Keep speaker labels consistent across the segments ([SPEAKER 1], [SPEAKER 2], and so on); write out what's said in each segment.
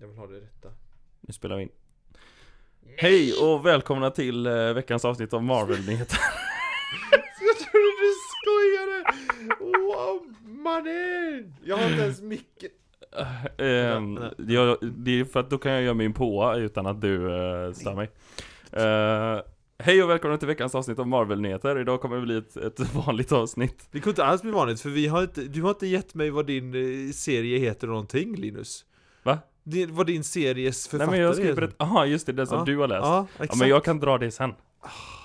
[SPEAKER 1] Jag vill ha det rätta.
[SPEAKER 2] Nu spelar vi in. Hej och välkomna till eh, veckans avsnitt av Marvel-nyheter.
[SPEAKER 1] Jag trodde du skojade! Wow, mannen! Jag har inte ens mycket.
[SPEAKER 2] Ehm, jag- det är för att då kan jag göra min påa utan att du eh, stör mig. Eh, hej och välkomna till veckans avsnitt av Marvel-nyheter. Idag kommer det bli ett, ett vanligt avsnitt.
[SPEAKER 3] Det kunde inte alls bli vanligt för vi har inte, du har inte gett mig vad din eh, serie heter någonting Linus.
[SPEAKER 2] Va?
[SPEAKER 3] Det, vad din series
[SPEAKER 2] Nej
[SPEAKER 3] författare
[SPEAKER 2] men jag ska ju berätta, aha just det, den som
[SPEAKER 3] Ja,
[SPEAKER 2] du har läst. Ja,
[SPEAKER 3] Ja, exakt. Ah.
[SPEAKER 2] men jag kan dra det sen.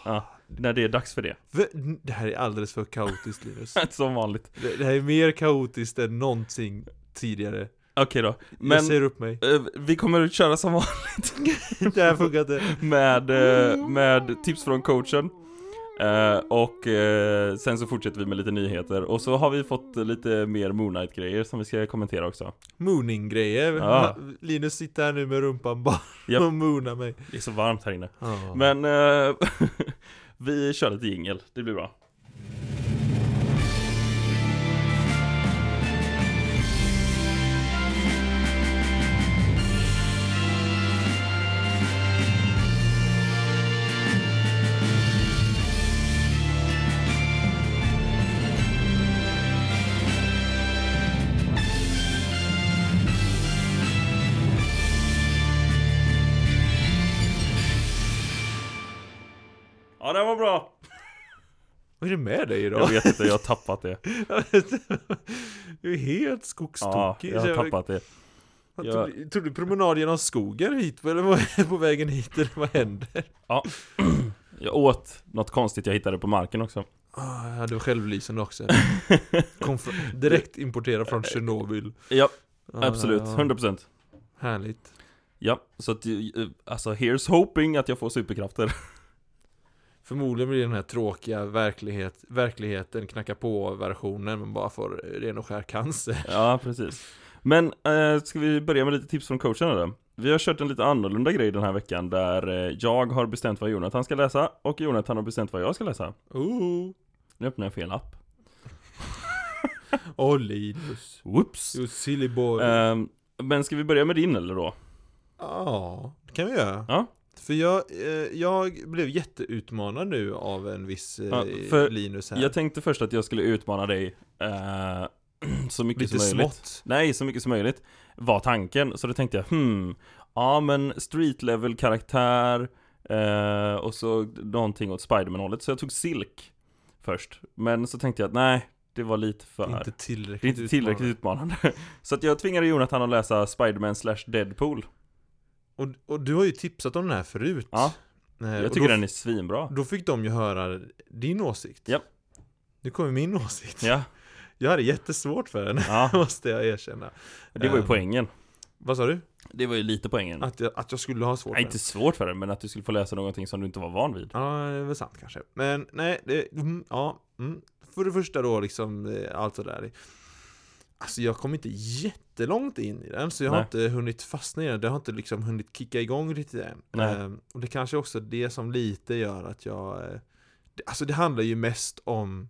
[SPEAKER 2] Ja, när det är dags för det.
[SPEAKER 3] V- Det här är alldeles för kaotiskt Linus.
[SPEAKER 2] Som vanligt.
[SPEAKER 3] Det, det här är mer kaotiskt än någonting tidigare.
[SPEAKER 2] Okej då.
[SPEAKER 3] jag
[SPEAKER 2] Men
[SPEAKER 3] säger upp mig.
[SPEAKER 2] eh, vi kommer att köra som vanligt.
[SPEAKER 3] Det här funkar inte.
[SPEAKER 2] med, eh, med tips från coachen. Eh, och eh, sen så fortsätter vi med lite nyheter och så har vi fått lite mer Moon Knight grejer som vi ska kommentera också.
[SPEAKER 3] Mooning-grejer.
[SPEAKER 2] Ja.
[SPEAKER 3] Linus sitter här nu med rumpan bara
[SPEAKER 2] Japp.
[SPEAKER 3] och moonar mig.
[SPEAKER 2] Det är så varmt här inne.
[SPEAKER 3] Ja.
[SPEAKER 2] Men eh, vi kör lite jingel, det blir bra. Ja, det var bra!
[SPEAKER 3] Vad är det med dig
[SPEAKER 2] Jag
[SPEAKER 3] idag?
[SPEAKER 2] vet inte, jag har tappat det.
[SPEAKER 3] du är helt
[SPEAKER 2] Ja,
[SPEAKER 3] skogstokig.
[SPEAKER 2] jag
[SPEAKER 3] Så
[SPEAKER 2] har tappat det.
[SPEAKER 3] Han
[SPEAKER 2] Jag-
[SPEAKER 3] tog, tog du promenad genom skogen hit? Eller var på vägen hit? Eller vad hände?
[SPEAKER 2] Jag åt något konstigt jag hittade på marken också.
[SPEAKER 3] Ah, jag hade självlysande också. Kom från, direkt importerad från Tjernobyl.
[SPEAKER 2] Ja,
[SPEAKER 3] Ah,
[SPEAKER 2] absolut.
[SPEAKER 3] ja.
[SPEAKER 2] 100%.
[SPEAKER 3] Härligt.
[SPEAKER 2] Ja, så att, eh, alltså here's hoping att jag får superkrafter.
[SPEAKER 3] Förmodligen blir den här tråkiga verklighet, verkligheten knacka på-versionen, men bara för ren och skär cancer.
[SPEAKER 2] Ja, precis. Men eh, ska vi börja med lite tips från coachen eller? Vi har kört en lite annorlunda grej den här veckan där eh, jag har bestämt vad Jonathan ska läsa och Jonathan har bestämt vad jag ska läsa.
[SPEAKER 3] Oh,
[SPEAKER 2] Nu öppnar jag fel app.
[SPEAKER 3] oh Linus.
[SPEAKER 2] Whoops!
[SPEAKER 3] You silly boy. Ja,
[SPEAKER 2] Ehm, men ska vi börja med din eller då?
[SPEAKER 3] det kan vi göra.
[SPEAKER 2] Ja.
[SPEAKER 3] För jag, eh, jag blev jätteutmanad nu av en viss eh,
[SPEAKER 2] Ja, för
[SPEAKER 3] Linus här.
[SPEAKER 2] Jag tänkte först att jag skulle utmana dig eh, så mycket
[SPEAKER 3] Lite
[SPEAKER 2] som möjligt.
[SPEAKER 3] smått.
[SPEAKER 2] Nej, så mycket som möjligt var tanken. Så då tänkte jag, hmm, ja men street level karaktär eh, och så någonting åt Spiderman-hållet. Så jag tog Silk först. Men så tänkte jag att nej, det var lite för...
[SPEAKER 3] Inte tillräckligt
[SPEAKER 2] det är inte tillräckligt
[SPEAKER 3] utmanande.
[SPEAKER 2] utmanande. Så att jag tvingade Jonathan att läsa Spiderman slash Deadpool.
[SPEAKER 3] Och, och du har ju tipsat om den här förut.
[SPEAKER 2] Ja,
[SPEAKER 3] Eh, och
[SPEAKER 2] Jag tycker
[SPEAKER 3] då,
[SPEAKER 2] den är svinbra.
[SPEAKER 3] Då fick de ju höra din åsikt.
[SPEAKER 2] Japp.
[SPEAKER 3] Nu kommer min åsikt.
[SPEAKER 2] Ja,
[SPEAKER 3] Jag hade jättesvårt för den,
[SPEAKER 2] ja,
[SPEAKER 3] måste jag erkänna.
[SPEAKER 2] det var ju
[SPEAKER 3] Eh,
[SPEAKER 2] poängen.
[SPEAKER 3] Vad sa du?
[SPEAKER 2] Det var ju lite poängen.
[SPEAKER 3] Att jag, att jag skulle ha svårt
[SPEAKER 2] Nej,
[SPEAKER 3] för
[SPEAKER 2] inte svårt för det, men att du skulle få läsa någonting som du inte var van vid.
[SPEAKER 3] den? Ja, det är väl sant kanske. Men nej, det, mm, ja. Mm. För det första då liksom, eh, allt det där. Alltså jag kom inte jättelångt in i den, så jag har
[SPEAKER 2] Nej.
[SPEAKER 3] inte hunnit fastna i den. Det har inte liksom hunnit kicka igång riktigt än.
[SPEAKER 2] Nej.
[SPEAKER 3] Ehm, och det kanske också är det som lite gör att jag... eh, det- Alltså det handlar ju mest om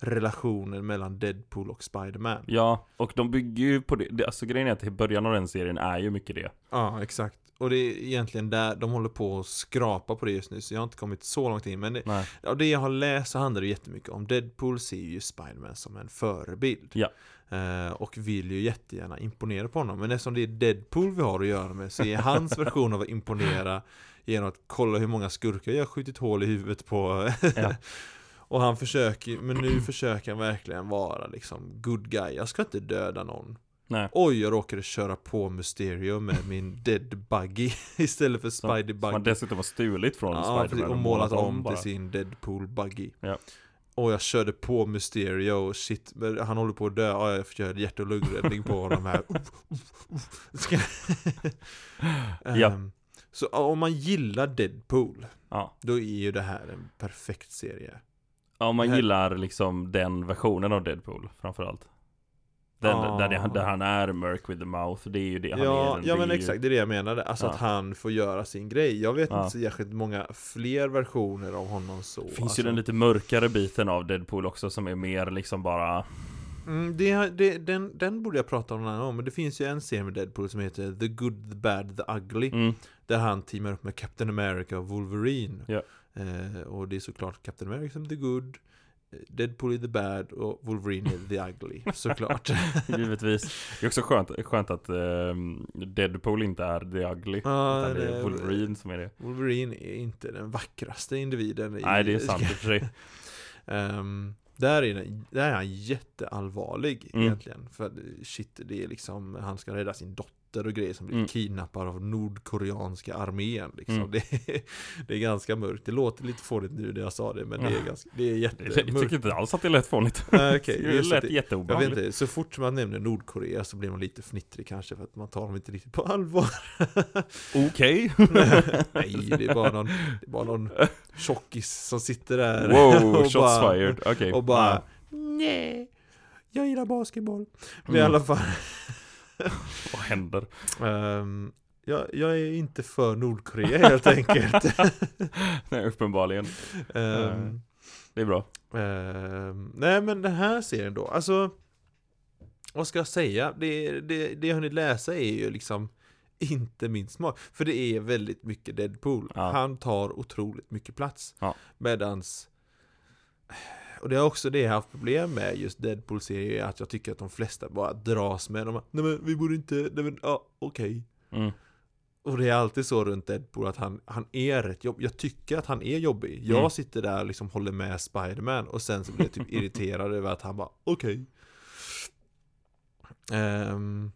[SPEAKER 3] relationen mellan Deadpool och Spiderman.
[SPEAKER 2] Ja, och de bygger ju på det. det. Alltså grejen är att i början av den serien är ju mycket det.
[SPEAKER 3] Ja, exakt. Och det är egentligen där de håller på att skrapa på det just nu, så jag har inte kommit så långt in. Men det,
[SPEAKER 2] Nej.
[SPEAKER 3] av det jag har läst så handlar det jättemycket om Deadpool ser ju Spiderman som en förebild.
[SPEAKER 2] Ja.
[SPEAKER 3] Eh, och vill ju jättegärna imponera på honom. Men eftersom det är Deadpool vi har att göra med så är hans version av att imponera genom att kolla hur många skurkar jag har skjutit hål i huvudet på.
[SPEAKER 2] Ja.
[SPEAKER 3] och han försöker, men nu försöker han verkligen vara liksom good guy. Jag ska inte döda någon.
[SPEAKER 2] Nej.
[SPEAKER 3] Oj, jag råkade köra på Mysterio med min dead buggy istället för
[SPEAKER 2] Som-
[SPEAKER 3] Spidey
[SPEAKER 2] Som man
[SPEAKER 3] buggy.
[SPEAKER 2] dessutom har stulit från
[SPEAKER 3] Ja,
[SPEAKER 2] Spiderman
[SPEAKER 3] precis, och målat om till sin Deadpool buggy.
[SPEAKER 2] Ja.
[SPEAKER 3] Och jag körde på Mysterio och shit, men han håller på att dö. Ja, jag gör hjärt och lungräddning på honom här. Uff, uff, uff. Ska-
[SPEAKER 2] Ja.
[SPEAKER 3] Ehm, Så ja, om man gillar Deadpool,
[SPEAKER 2] Ja.
[SPEAKER 3] då är ju det här en perfekt serie.
[SPEAKER 2] Ja, om man
[SPEAKER 3] Här-
[SPEAKER 2] gillar liksom den versionen av Deadpool framförallt. Den,
[SPEAKER 3] Ja.
[SPEAKER 2] där, det, där han är Merc with the Mouth, det är ju det han är.
[SPEAKER 3] Ja,
[SPEAKER 2] den-
[SPEAKER 3] ja
[SPEAKER 2] det
[SPEAKER 3] men
[SPEAKER 2] är ju-
[SPEAKER 3] exakt, det är det jag menade. Alltså
[SPEAKER 2] Ja.
[SPEAKER 3] att han får göra sin grej. Jag vet
[SPEAKER 2] Ja.
[SPEAKER 3] inte så särskilt många fler versioner av honom så.
[SPEAKER 2] Det finns
[SPEAKER 3] alltså.
[SPEAKER 2] ju den lite mörkare biten av Deadpool också som är mer liksom bara
[SPEAKER 3] Mm, det, har- det, den, den borde jag prata om någon annan gång, men det finns ju en scen med Deadpool som heter The Good, The Bad, The Ugly.
[SPEAKER 2] Mm.
[SPEAKER 3] Där han teamar upp med Captain America och Wolverine.
[SPEAKER 2] Ja.
[SPEAKER 3] Eh, och det är såklart Captain America som The Good, eh, Deadpool är The Bad och Wolverine är The Ugly. Såklart.
[SPEAKER 2] Givetvis. Det är också skönt, skönt att ehm, Deadpool inte är The Ugly.
[SPEAKER 3] Ja,
[SPEAKER 2] utan det
[SPEAKER 3] det-
[SPEAKER 2] är Wolverine som är det.
[SPEAKER 3] Wolverine är inte den vackraste individen. i-
[SPEAKER 2] Nej, det är sant i och för sig.
[SPEAKER 3] Ehm, där, är den, där är han jätteallvarlig
[SPEAKER 2] Mm.
[SPEAKER 3] egentligen. För att, shit, det är liksom, han ska rädda sin dotter och grejer som blir
[SPEAKER 2] Mm.
[SPEAKER 3] kidnappad av Nordkoreanska armén. Liksom.
[SPEAKER 2] Mm.
[SPEAKER 3] Det, är, det är ganska mörkt. Det låter lite fånigt nu när jag sa det, men det är,
[SPEAKER 2] Ja.
[SPEAKER 3] ganska, det är
[SPEAKER 2] Jag tycker
[SPEAKER 3] jättemörkt.
[SPEAKER 2] inte alls att det lät fånigt.
[SPEAKER 3] Nej, okej,
[SPEAKER 2] det
[SPEAKER 3] just att
[SPEAKER 2] lät
[SPEAKER 3] det- Jag vet
[SPEAKER 2] jätteobehagligt.
[SPEAKER 3] inte, så fort man nämner Nordkorea så blir man lite fnittrig kanske för att man tar dem inte riktigt på allvar.
[SPEAKER 2] Okej.
[SPEAKER 3] Nej, det är bara någon, det är bara någon tjockis som sitter där
[SPEAKER 2] Wow, shots
[SPEAKER 3] bara-
[SPEAKER 2] fired. Okej.
[SPEAKER 3] Och bara
[SPEAKER 2] Typ. Ja.
[SPEAKER 3] Nej, jag gillar basketboll. Men i
[SPEAKER 2] Mm.
[SPEAKER 3] alla fall.
[SPEAKER 2] Vad händer?
[SPEAKER 3] ehm, jag, jag är inte för Nordkorea helt enkelt.
[SPEAKER 2] Nej, uppenbarligen.
[SPEAKER 3] Ehm,
[SPEAKER 2] Det är bra.
[SPEAKER 3] ehm, nej men den här serien då, alltså. Vad ska jag säga? Det, det, det jag hunnit läsa är ju liksom inte min smak. För det är väldigt mycket Deadpool.
[SPEAKER 2] Ja.
[SPEAKER 3] Han tar otroligt mycket plats.
[SPEAKER 2] Ja.
[SPEAKER 3] Medans Och det är också det jag har haft problem med just Deadpool-serier, att jag tycker att de flesta bara dras med dem. Nej men vi borde inte, nej men ja, okej.
[SPEAKER 2] Mm.
[SPEAKER 3] Och det är alltid så runt Deadpool att han, han är rätt jobbig. Jag tycker att han är jobbig. Jag
[SPEAKER 2] Mm.
[SPEAKER 3] sitter där och liksom håller med Spiderman och sen så blir jag typ irriterad över att han bara okej. Ehm,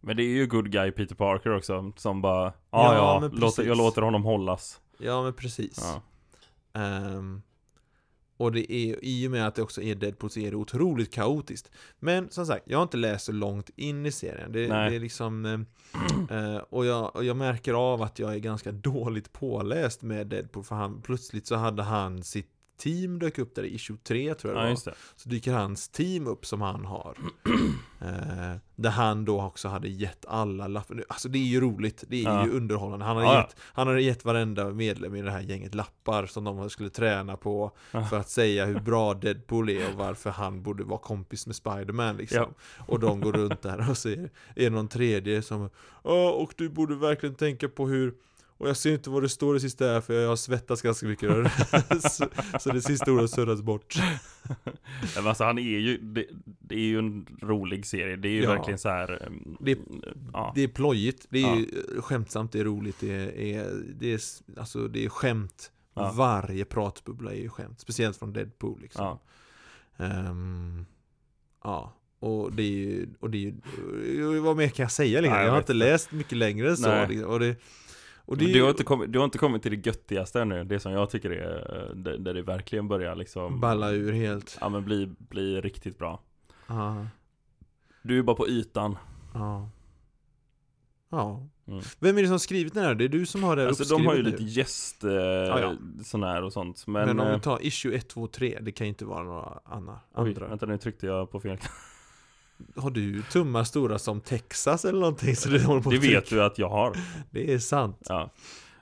[SPEAKER 2] Men det är ju good guy Peter Parker också, som bara
[SPEAKER 3] Ja,
[SPEAKER 2] Ja, ja,
[SPEAKER 3] men
[SPEAKER 2] låter, jag
[SPEAKER 3] precis.
[SPEAKER 2] låter honom hållas.
[SPEAKER 3] ja men precis.
[SPEAKER 2] Ja.
[SPEAKER 3] Ehm, och det är, i och med att det också är Deadpool så är det otroligt kaotiskt. Men som sagt, jag har inte läst så långt in i serien. Det,
[SPEAKER 2] Nej.
[SPEAKER 3] det är liksom... eh, eh, och, jag, och jag märker av att jag är ganska dåligt påläst med Deadpool. För han, plötsligt så hade han sitt team dök upp där i 23 tror jag det
[SPEAKER 2] ja,
[SPEAKER 3] var.
[SPEAKER 2] just det.
[SPEAKER 3] Så dyker hans team upp som han har. Eh, där han då också hade gett alla lappar. Nu, Alltså det är ju roligt, det är
[SPEAKER 2] Ja.
[SPEAKER 3] ju underhållande. Han hade,
[SPEAKER 2] Ja, ja.
[SPEAKER 3] gett, han hade gett varenda medlem i det här gänget lappar som de skulle träna på.
[SPEAKER 2] Ja.
[SPEAKER 3] För att säga hur bra Deadpool är och varför han borde vara kompis med Spiderman liksom. Och de går runt där och ser, är någon tredje som Ja, och du borde verkligen tänka på hur och jag ser inte vad det står det sista här för jag har svettats ganska mycket. så, så det sista ordet suddas bort.
[SPEAKER 2] Ja, men Alltså, han är ju, det, det är ju en rolig serie. Det är ju
[SPEAKER 3] Ja.
[SPEAKER 2] verkligen så här. ehm,
[SPEAKER 3] Det-
[SPEAKER 2] ja.
[SPEAKER 3] Det är plojigt, det är ju eh, skämtsamt, det är roligt, det är, är, det är, s- alltså, det är skämt.
[SPEAKER 2] Ja.
[SPEAKER 3] Varje pratbubbla är ju skämt, speciellt från Deadpool liksom.
[SPEAKER 2] ja.
[SPEAKER 3] Ehm, ja. Och det är ju, och det är ju, vad mer kan jag säga liksom?
[SPEAKER 2] Nej, jag
[SPEAKER 3] Jag har
[SPEAKER 2] vet
[SPEAKER 3] inte
[SPEAKER 2] inte.
[SPEAKER 3] läst mycket längre än så.
[SPEAKER 2] Nej.
[SPEAKER 3] Liksom. Och det, och det
[SPEAKER 2] Men
[SPEAKER 3] är
[SPEAKER 2] du,
[SPEAKER 3] ju-
[SPEAKER 2] har inte kommit, du har inte kommit till det göttigaste ännu, det som jag tycker är, eh, där, där det verkligen börjar liksom
[SPEAKER 3] balla ur helt.
[SPEAKER 2] Ja men bli, bli riktigt bra
[SPEAKER 3] Ja.
[SPEAKER 2] Du är bara på ytan
[SPEAKER 3] Ja. ja.
[SPEAKER 2] Mm.
[SPEAKER 3] Vem är det som har skrivit den här? Det är du som har det här
[SPEAKER 2] Alltså de har ju
[SPEAKER 3] uppskrivet
[SPEAKER 2] lite
[SPEAKER 3] nu.
[SPEAKER 2] gäst eh,
[SPEAKER 3] ja.
[SPEAKER 2] sån här och sånt Men,
[SPEAKER 3] Men, om
[SPEAKER 2] eh,
[SPEAKER 3] vi tar issue 1, 2, 3, det kan ju inte vara några anna,
[SPEAKER 2] oj,
[SPEAKER 3] andra.
[SPEAKER 2] vänta nu tryckte jag på fel
[SPEAKER 3] Har du tummar stora som Texas eller någonting? Så du håller på
[SPEAKER 2] Det
[SPEAKER 3] att
[SPEAKER 2] vet
[SPEAKER 3] trycka?
[SPEAKER 2] du att jag har
[SPEAKER 3] Det är sant.
[SPEAKER 2] ja.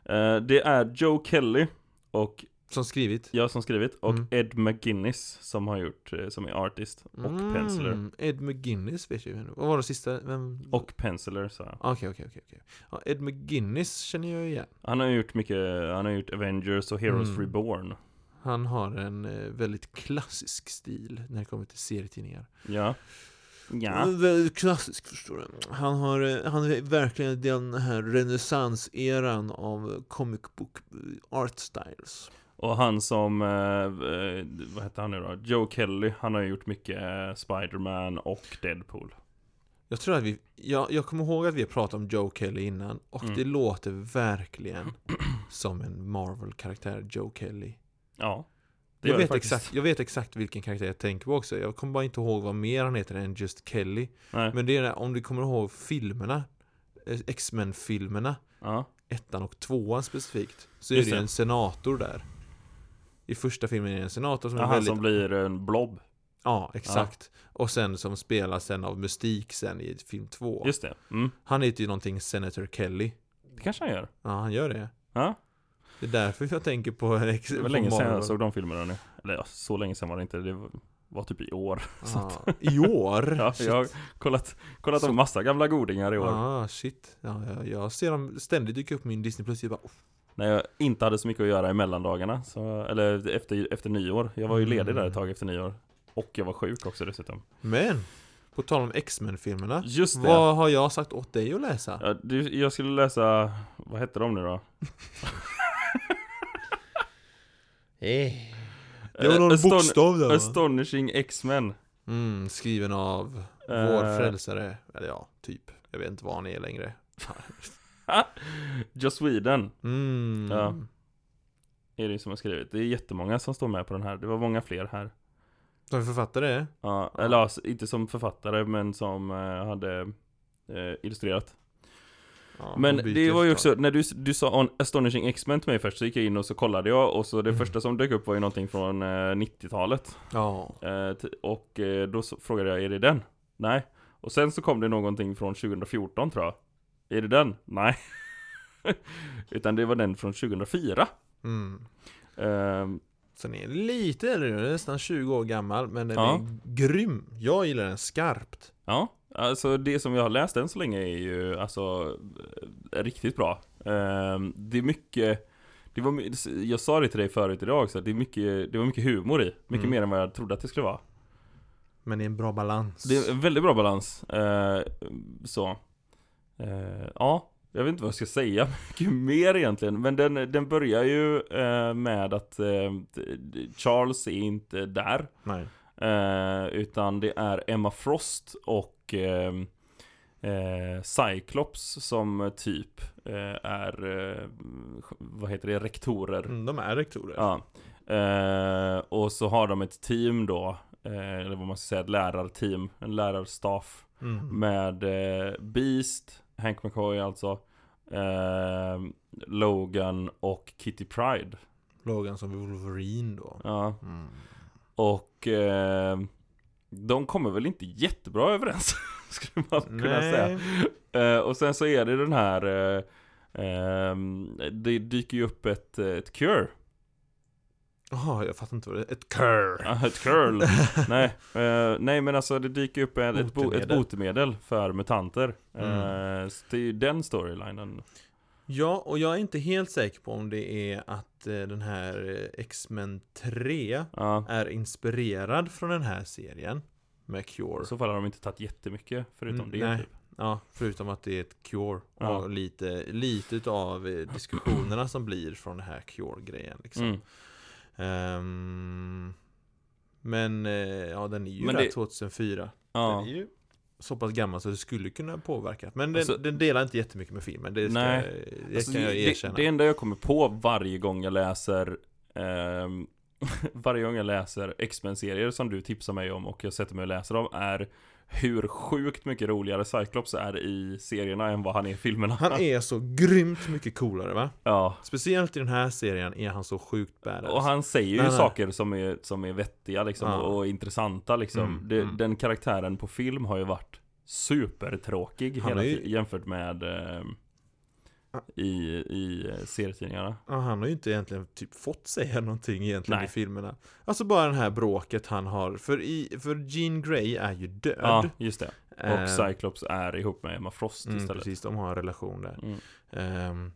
[SPEAKER 2] Eh, Det är Joe Kelly och
[SPEAKER 3] Som skrivit.
[SPEAKER 2] jag som skrivit och
[SPEAKER 3] Mm.
[SPEAKER 2] Ed McGuinness som har gjort, eh, som är artist och penciler
[SPEAKER 3] Mm, Ed McGuinness vet jag ju. Vad var det sista? Vem?
[SPEAKER 2] Och penciler sa jag
[SPEAKER 3] Ah, Okej, okej, okej. okej. Ja, Ed McGuinness känner jag igen.
[SPEAKER 2] Han har gjort mycket, han har gjort Avengers och Heroes
[SPEAKER 3] Mm.
[SPEAKER 2] Reborn
[SPEAKER 3] Han har en eh, väldigt klassisk stil när det kommer till serietidningar.
[SPEAKER 2] Ja Ja
[SPEAKER 3] Eh, Väldigt klassisk förstår du. Han har, eh, han är verkligen den här renässanseran av eh, comic book eh, art styles.
[SPEAKER 2] Och han som, eh, eh, vad heter han nu då? Joe Kelly, han har ju gjort mycket eh, Spider-Man och Deadpool.
[SPEAKER 3] Jag tror att vi, jag, jag kommer ihåg att vi har pratat om Joe Kelly innan och
[SPEAKER 2] Mm.
[SPEAKER 3] det låter verkligen som en Marvel-karaktär, Joe Kelly.
[SPEAKER 2] Ja. Det
[SPEAKER 3] Jag
[SPEAKER 2] gör det
[SPEAKER 3] vet,
[SPEAKER 2] faktiskt.
[SPEAKER 3] exakt, jag vet exakt vilken karaktär jag tänker på också. Jag kommer bara inte ihåg vad mer han heter än just Kelly.
[SPEAKER 2] Nej.
[SPEAKER 3] Men det är det, om du kommer ihåg filmerna, eh, X-Men-filmerna,
[SPEAKER 2] Ja.
[SPEAKER 3] ettan och tvåan specifikt, så är
[SPEAKER 2] Just
[SPEAKER 3] det ju
[SPEAKER 2] det.
[SPEAKER 3] en senator där. I första filmen är det en senator som
[SPEAKER 2] Ja,
[SPEAKER 3] är
[SPEAKER 2] han
[SPEAKER 3] väldigt...
[SPEAKER 2] som blir en blob.
[SPEAKER 3] Ja, exakt. Och sen som spelas sen av Mystik sen i film två.
[SPEAKER 2] Just det. Mm.
[SPEAKER 3] Han heter ju någonting Senator Kelly.
[SPEAKER 2] Det kanske han gör.
[SPEAKER 3] Ja, han gör det.
[SPEAKER 2] Ja.
[SPEAKER 3] Det är därför jag tänker på...
[SPEAKER 2] Det var länge sedan jag såg de filmerna nu. Eller ja, så länge sedan var det inte. Det var, var typ i år.
[SPEAKER 3] Ah, I år?
[SPEAKER 2] Ja,
[SPEAKER 3] Shit.
[SPEAKER 2] jag har kollat, kollat
[SPEAKER 3] Så-
[SPEAKER 2] om massa gamla godingar i år.
[SPEAKER 3] Ah, shit. Ja, jag, jag ser dem ständigt dyka upp på min Disney Plus. Jag bara, "Uff,
[SPEAKER 2] När jag inte hade så mycket att göra i mellandagarna. Så, eller efter, efter nyår. Jag var ju ledig
[SPEAKER 3] Mm.
[SPEAKER 2] där ett tag efter nyår. Och jag var sjuk också dessutom.
[SPEAKER 3] Men! På tal om X-Men-filmerna.
[SPEAKER 2] Just det!
[SPEAKER 3] Vad har jag sagt åt dig att läsa?
[SPEAKER 2] Ja, du, jag skulle läsa, vad hette de nu då?
[SPEAKER 3] Det var någon
[SPEAKER 2] Aston-
[SPEAKER 3] bokstav där va?
[SPEAKER 2] Astonishing X-Men.
[SPEAKER 3] Mm, skriven av
[SPEAKER 2] Eh.
[SPEAKER 3] vår frälsare. Eller ja, typ. Jag vet inte vad han är längre.
[SPEAKER 2] Just Sweden
[SPEAKER 3] Mm.
[SPEAKER 2] Ja. är det ju som har skrivit. Det är jättemånga som står med på den här. Det var många fler här.
[SPEAKER 3] Som författare är?
[SPEAKER 2] Ja,
[SPEAKER 3] Ja.
[SPEAKER 2] Eller alltså, inte som författare men som eh, hade eh, illustrerat.
[SPEAKER 3] Ja,
[SPEAKER 2] men
[SPEAKER 3] hon byter
[SPEAKER 2] det var ju
[SPEAKER 3] förslag.
[SPEAKER 2] också, när du, du sa on, Astonishing X-Men till mig först så gick jag in och så kollade jag och så det
[SPEAKER 3] Mm.
[SPEAKER 2] första som dök upp var ju någonting från eh, 90-talet.
[SPEAKER 3] Ja.
[SPEAKER 2] Eh, t- och eh, då så, frågade jag, är det den? Nej. Och sen så kom det någonting från 2014 tror jag. Är det den? Nej. Utan det var den från 2004.
[SPEAKER 3] Mm.
[SPEAKER 2] Ehm,
[SPEAKER 3] Sen är den lite äldre nu, den är nästan 20 år gammal. Men den
[SPEAKER 2] Ja.
[SPEAKER 3] är grym. Jag gillar den skarpt.
[SPEAKER 2] Ja, alltså det som jag har läst än så länge är ju alltså eh, riktigt bra. Ehm, det är mycket, det var, my- jag sa det till dig förut idag också, det, är mycket, det var mycket humor i. Mycket
[SPEAKER 3] Mm.
[SPEAKER 2] mer än vad jag trodde att det skulle vara.
[SPEAKER 3] Men det är en bra balans.
[SPEAKER 2] Det är en väldigt bra balans. Eh, så. Eh, ja, jag vet inte vad jag ska säga mycket mer egentligen. Men den, den börjar ju eh, med att eh, d- d- Charles är inte där.
[SPEAKER 3] Nej.
[SPEAKER 2] Eh, utan det är Emma Frost och ehm, eh, Cyclops som typ eh, är, eh, vad heter det, rektorer.
[SPEAKER 3] Mm, de är rektorer.
[SPEAKER 2] Ja. Eh, och så har de ett team då, eh, eller vad man ska säga, ett lärarteam, en lärarstaff
[SPEAKER 3] Mm.
[SPEAKER 2] med eh, Beast, Hank McCoy alltså, eh, Logan och Kitty Pride.
[SPEAKER 3] Logan som Wolverine då.
[SPEAKER 2] Ja.
[SPEAKER 3] Mm.
[SPEAKER 2] Och eh, de kommer väl inte jättebra överens, skulle man kunna säga. Eh, och sen så är det den här, eh, eh, det dyker ju upp ett, eh, ett cure.
[SPEAKER 3] Jaha, jag fattar inte vad det är. Ett curl.
[SPEAKER 2] Ah, ett curl. nej, eh, nej men alltså det dyker upp en, ett, bo, ett
[SPEAKER 3] Botemedel.
[SPEAKER 2] botemedel för mutanter.
[SPEAKER 3] Mm.
[SPEAKER 2] Eh, så det är ju den storylinen.
[SPEAKER 3] Ja, och jag är inte helt säker på om det är att eh, den här eh, X-Men 3
[SPEAKER 2] Ja.
[SPEAKER 3] är inspirerad från den här serien. Med Cure.
[SPEAKER 2] I så fall har de inte tagit jättemycket förutom
[SPEAKER 3] Mm,
[SPEAKER 2] det.
[SPEAKER 3] nej.
[SPEAKER 2] Typ.
[SPEAKER 3] Ja, förutom att det är ett Cure.
[SPEAKER 2] Ja.
[SPEAKER 3] Och lite, lite av eh, diskussionerna som blir från den här Cure-grejen. Liksom.
[SPEAKER 2] Mm.
[SPEAKER 3] Ehm, men eh, ja, den är ju
[SPEAKER 2] Men
[SPEAKER 3] där
[SPEAKER 2] det-
[SPEAKER 3] 2004.
[SPEAKER 2] Ja.
[SPEAKER 3] Den är ju så pass gammal så det skulle kunna påverka. Men den,
[SPEAKER 2] Alltså-
[SPEAKER 3] den delar inte jättemycket med filmen. Det, ska,
[SPEAKER 2] Nej.
[SPEAKER 3] det
[SPEAKER 2] Alltså,
[SPEAKER 3] kan jag
[SPEAKER 2] det-
[SPEAKER 3] erkänna.
[SPEAKER 2] Det, det enda jag kommer på varje gång jag läser ehm, Varje gång jag läser X-Men-serier som du tipsar mig om och jag sätter mig och läser dem är Hur sjukt mycket roligare Cyclops är i serierna än vad han är i filmerna
[SPEAKER 3] Han är så grymt mycket coolare va?
[SPEAKER 2] Ja
[SPEAKER 3] Speciellt i den här serien är han så sjukt badass.
[SPEAKER 2] och han säger ju
[SPEAKER 3] Nej, nej.
[SPEAKER 2] saker som är, som är vettiga liksom
[SPEAKER 3] Ja.
[SPEAKER 2] och, och intressanta liksom
[SPEAKER 3] Mm,
[SPEAKER 2] det,
[SPEAKER 3] mm.
[SPEAKER 2] Den karaktären på film har ju varit Supertråkig
[SPEAKER 3] Han
[SPEAKER 2] hela
[SPEAKER 3] är ju-
[SPEAKER 2] tiden jämfört med ehm, I, i eh, serietidningarna
[SPEAKER 3] Ja, han har ju inte egentligen typ fått säga någonting egentligen
[SPEAKER 2] Nej.
[SPEAKER 3] i filmerna. Alltså bara det här bråket han har. För, i, för Jean Grey är ju död.
[SPEAKER 2] Ja, just det
[SPEAKER 3] Ehm,
[SPEAKER 2] Och Cyclops är ihop med Emma Frost
[SPEAKER 3] mm,
[SPEAKER 2] istället.
[SPEAKER 3] Precis, de har en relation där.
[SPEAKER 2] Mm.
[SPEAKER 3] Ehm,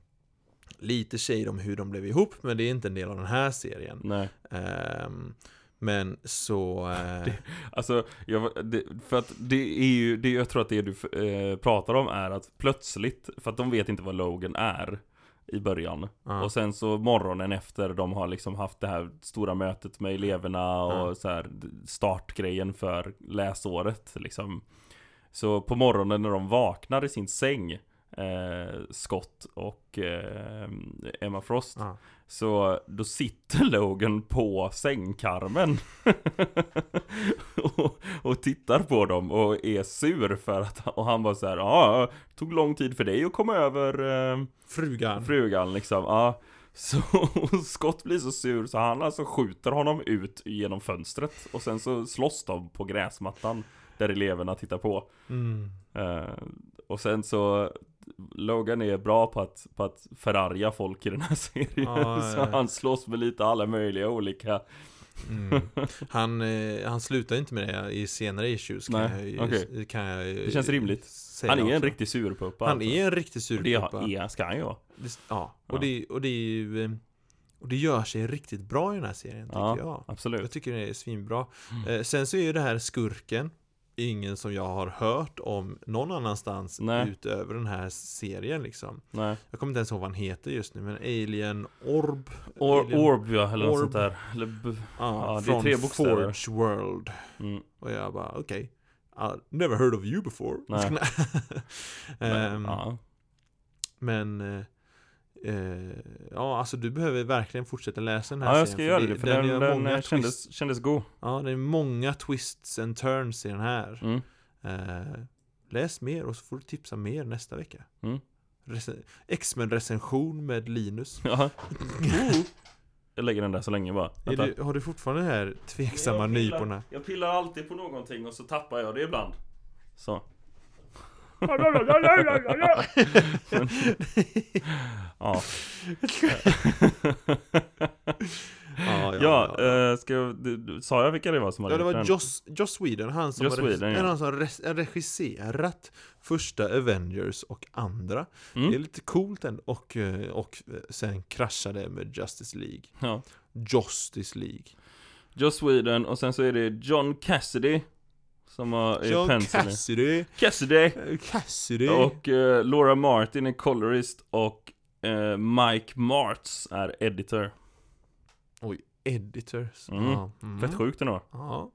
[SPEAKER 3] lite tjejer om hur de blev ihop, men det är inte en del av den här serien.
[SPEAKER 2] Nej,
[SPEAKER 3] Ehm, men så... eh,
[SPEAKER 2] alltså jag, var- det, för att det är ju, det jag tror att det du eh, pratar om är att plötsligt, för att de vet inte vad Logan är i början.
[SPEAKER 3] ja.
[SPEAKER 2] Och sen så morgonen efter de har liksom haft det här stora mötet med eleverna och
[SPEAKER 3] Ja.
[SPEAKER 2] så här startgrejen för läsåret liksom. Så på morgonen när de vaknar i sin säng, eh, Scott och eh, Emma Frost,
[SPEAKER 3] ja.
[SPEAKER 2] Så då sitter Logan på sängkarmen och, och tittar på dem och är sur för att Och han bara så här, ja, det tog lång tid för dig att komma över eh,
[SPEAKER 3] Frugan.
[SPEAKER 2] frugan liksom ja. Så och Scott blir så sur så han alltså skjuter honom ut genom fönstret Och sen så slåss de på gräsmattan Där eleverna tittar på
[SPEAKER 3] Mm.
[SPEAKER 2] Eh, och sen så Logan är bra på att, på att förarga folk i den här serien
[SPEAKER 3] Ja,
[SPEAKER 2] Så
[SPEAKER 3] ja, ja.
[SPEAKER 2] han slåss med lite alla möjliga olika
[SPEAKER 3] Mm. Han, eh, han slutar inte med det i senare issues kan
[SPEAKER 2] Nej,
[SPEAKER 3] jag,
[SPEAKER 2] okej.
[SPEAKER 3] kan jag
[SPEAKER 2] Det känns rimligt.
[SPEAKER 3] säga
[SPEAKER 2] Han är en
[SPEAKER 3] också.
[SPEAKER 2] riktig surpuppa.
[SPEAKER 3] Han
[SPEAKER 2] alltså.
[SPEAKER 3] är en riktig
[SPEAKER 2] Det
[SPEAKER 3] surpuppa.
[SPEAKER 2] är, ska han ju vara.
[SPEAKER 3] Det- Ja, och,
[SPEAKER 2] Ja.
[SPEAKER 3] Det, och det är ju, eh, Och det gör sig riktigt bra i den här serien, tycker
[SPEAKER 2] Ja, Mm.
[SPEAKER 3] jag. Jag
[SPEAKER 2] Absolut.
[SPEAKER 3] tycker det är svinbra. Eh, sen så är ju det här skurken ingen som jag har hört om någon annanstans
[SPEAKER 2] Nej.
[SPEAKER 3] utöver den här serien liksom.
[SPEAKER 2] Nej.
[SPEAKER 3] Jag kommer inte ens ihåg vad han heter just nu, men Alien Orb.
[SPEAKER 2] Or,
[SPEAKER 3] Alien-
[SPEAKER 2] orb ja, eller något
[SPEAKER 3] Orb.
[SPEAKER 2] sånt där. Eller b-
[SPEAKER 3] Ja,
[SPEAKER 2] Ja, det är
[SPEAKER 3] från
[SPEAKER 2] tre bokstäver.
[SPEAKER 3] Forge World.
[SPEAKER 2] mm.
[SPEAKER 3] Och jag bara, okej. I never heard of you before.
[SPEAKER 2] Nej.
[SPEAKER 3] Ehm,
[SPEAKER 2] ja.
[SPEAKER 3] Men eh, eh, ja, alltså du behöver verkligen fortsätta läsa den här
[SPEAKER 2] ja, jag
[SPEAKER 3] serien,
[SPEAKER 2] ska göra det. För
[SPEAKER 3] den
[SPEAKER 2] den,
[SPEAKER 3] gör
[SPEAKER 2] den,
[SPEAKER 3] många
[SPEAKER 2] eh,
[SPEAKER 3] twist-
[SPEAKER 2] kändes, kändes god.
[SPEAKER 3] Ja, det är många twists and turns i den här.
[SPEAKER 2] Mm.
[SPEAKER 3] Eh, läs mer och så får du tipsa mer nästa vecka.
[SPEAKER 2] Mm.
[SPEAKER 3] Rece- X-Men recension med Linus.
[SPEAKER 2] Ja. Jag lägger den där så länge bara.
[SPEAKER 3] Är
[SPEAKER 2] Vänta.
[SPEAKER 3] du, har du fortfarande de här tveksamma
[SPEAKER 2] Jag pillar.
[SPEAKER 3] nyporna?
[SPEAKER 2] Jag pillar alltid på någonting och så tappar jag det ibland. Så. Ja.
[SPEAKER 3] ja,
[SPEAKER 2] Ja, eh, ska jag, du, du, sa jag vilka det var som hade
[SPEAKER 3] Ja, det
[SPEAKER 2] gjort
[SPEAKER 3] var
[SPEAKER 2] den?
[SPEAKER 3] Joss, Joss Whedon, han som,
[SPEAKER 2] Joss
[SPEAKER 3] har regi-
[SPEAKER 2] Whedon, ja.
[SPEAKER 3] han som har res- regisserat första Avengers och andra.
[SPEAKER 2] Mm.
[SPEAKER 3] Det är lite coolt ändå. Och, eh, och sen kraschade med Justice League.
[SPEAKER 2] Ja.
[SPEAKER 3] Justice League.
[SPEAKER 2] Joss Whedon och sen så är det John Cassidy Som har är
[SPEAKER 3] John
[SPEAKER 2] pencil
[SPEAKER 3] Cassidy.
[SPEAKER 2] Cassidy!
[SPEAKER 3] Eh, Cassidy.
[SPEAKER 2] Och eh, Laura Martin är colorist och eh, Mike Martz är editor
[SPEAKER 3] Editors.
[SPEAKER 2] Mm.
[SPEAKER 3] Ja. Mm.
[SPEAKER 2] Fett sjukt ändå
[SPEAKER 3] Ja.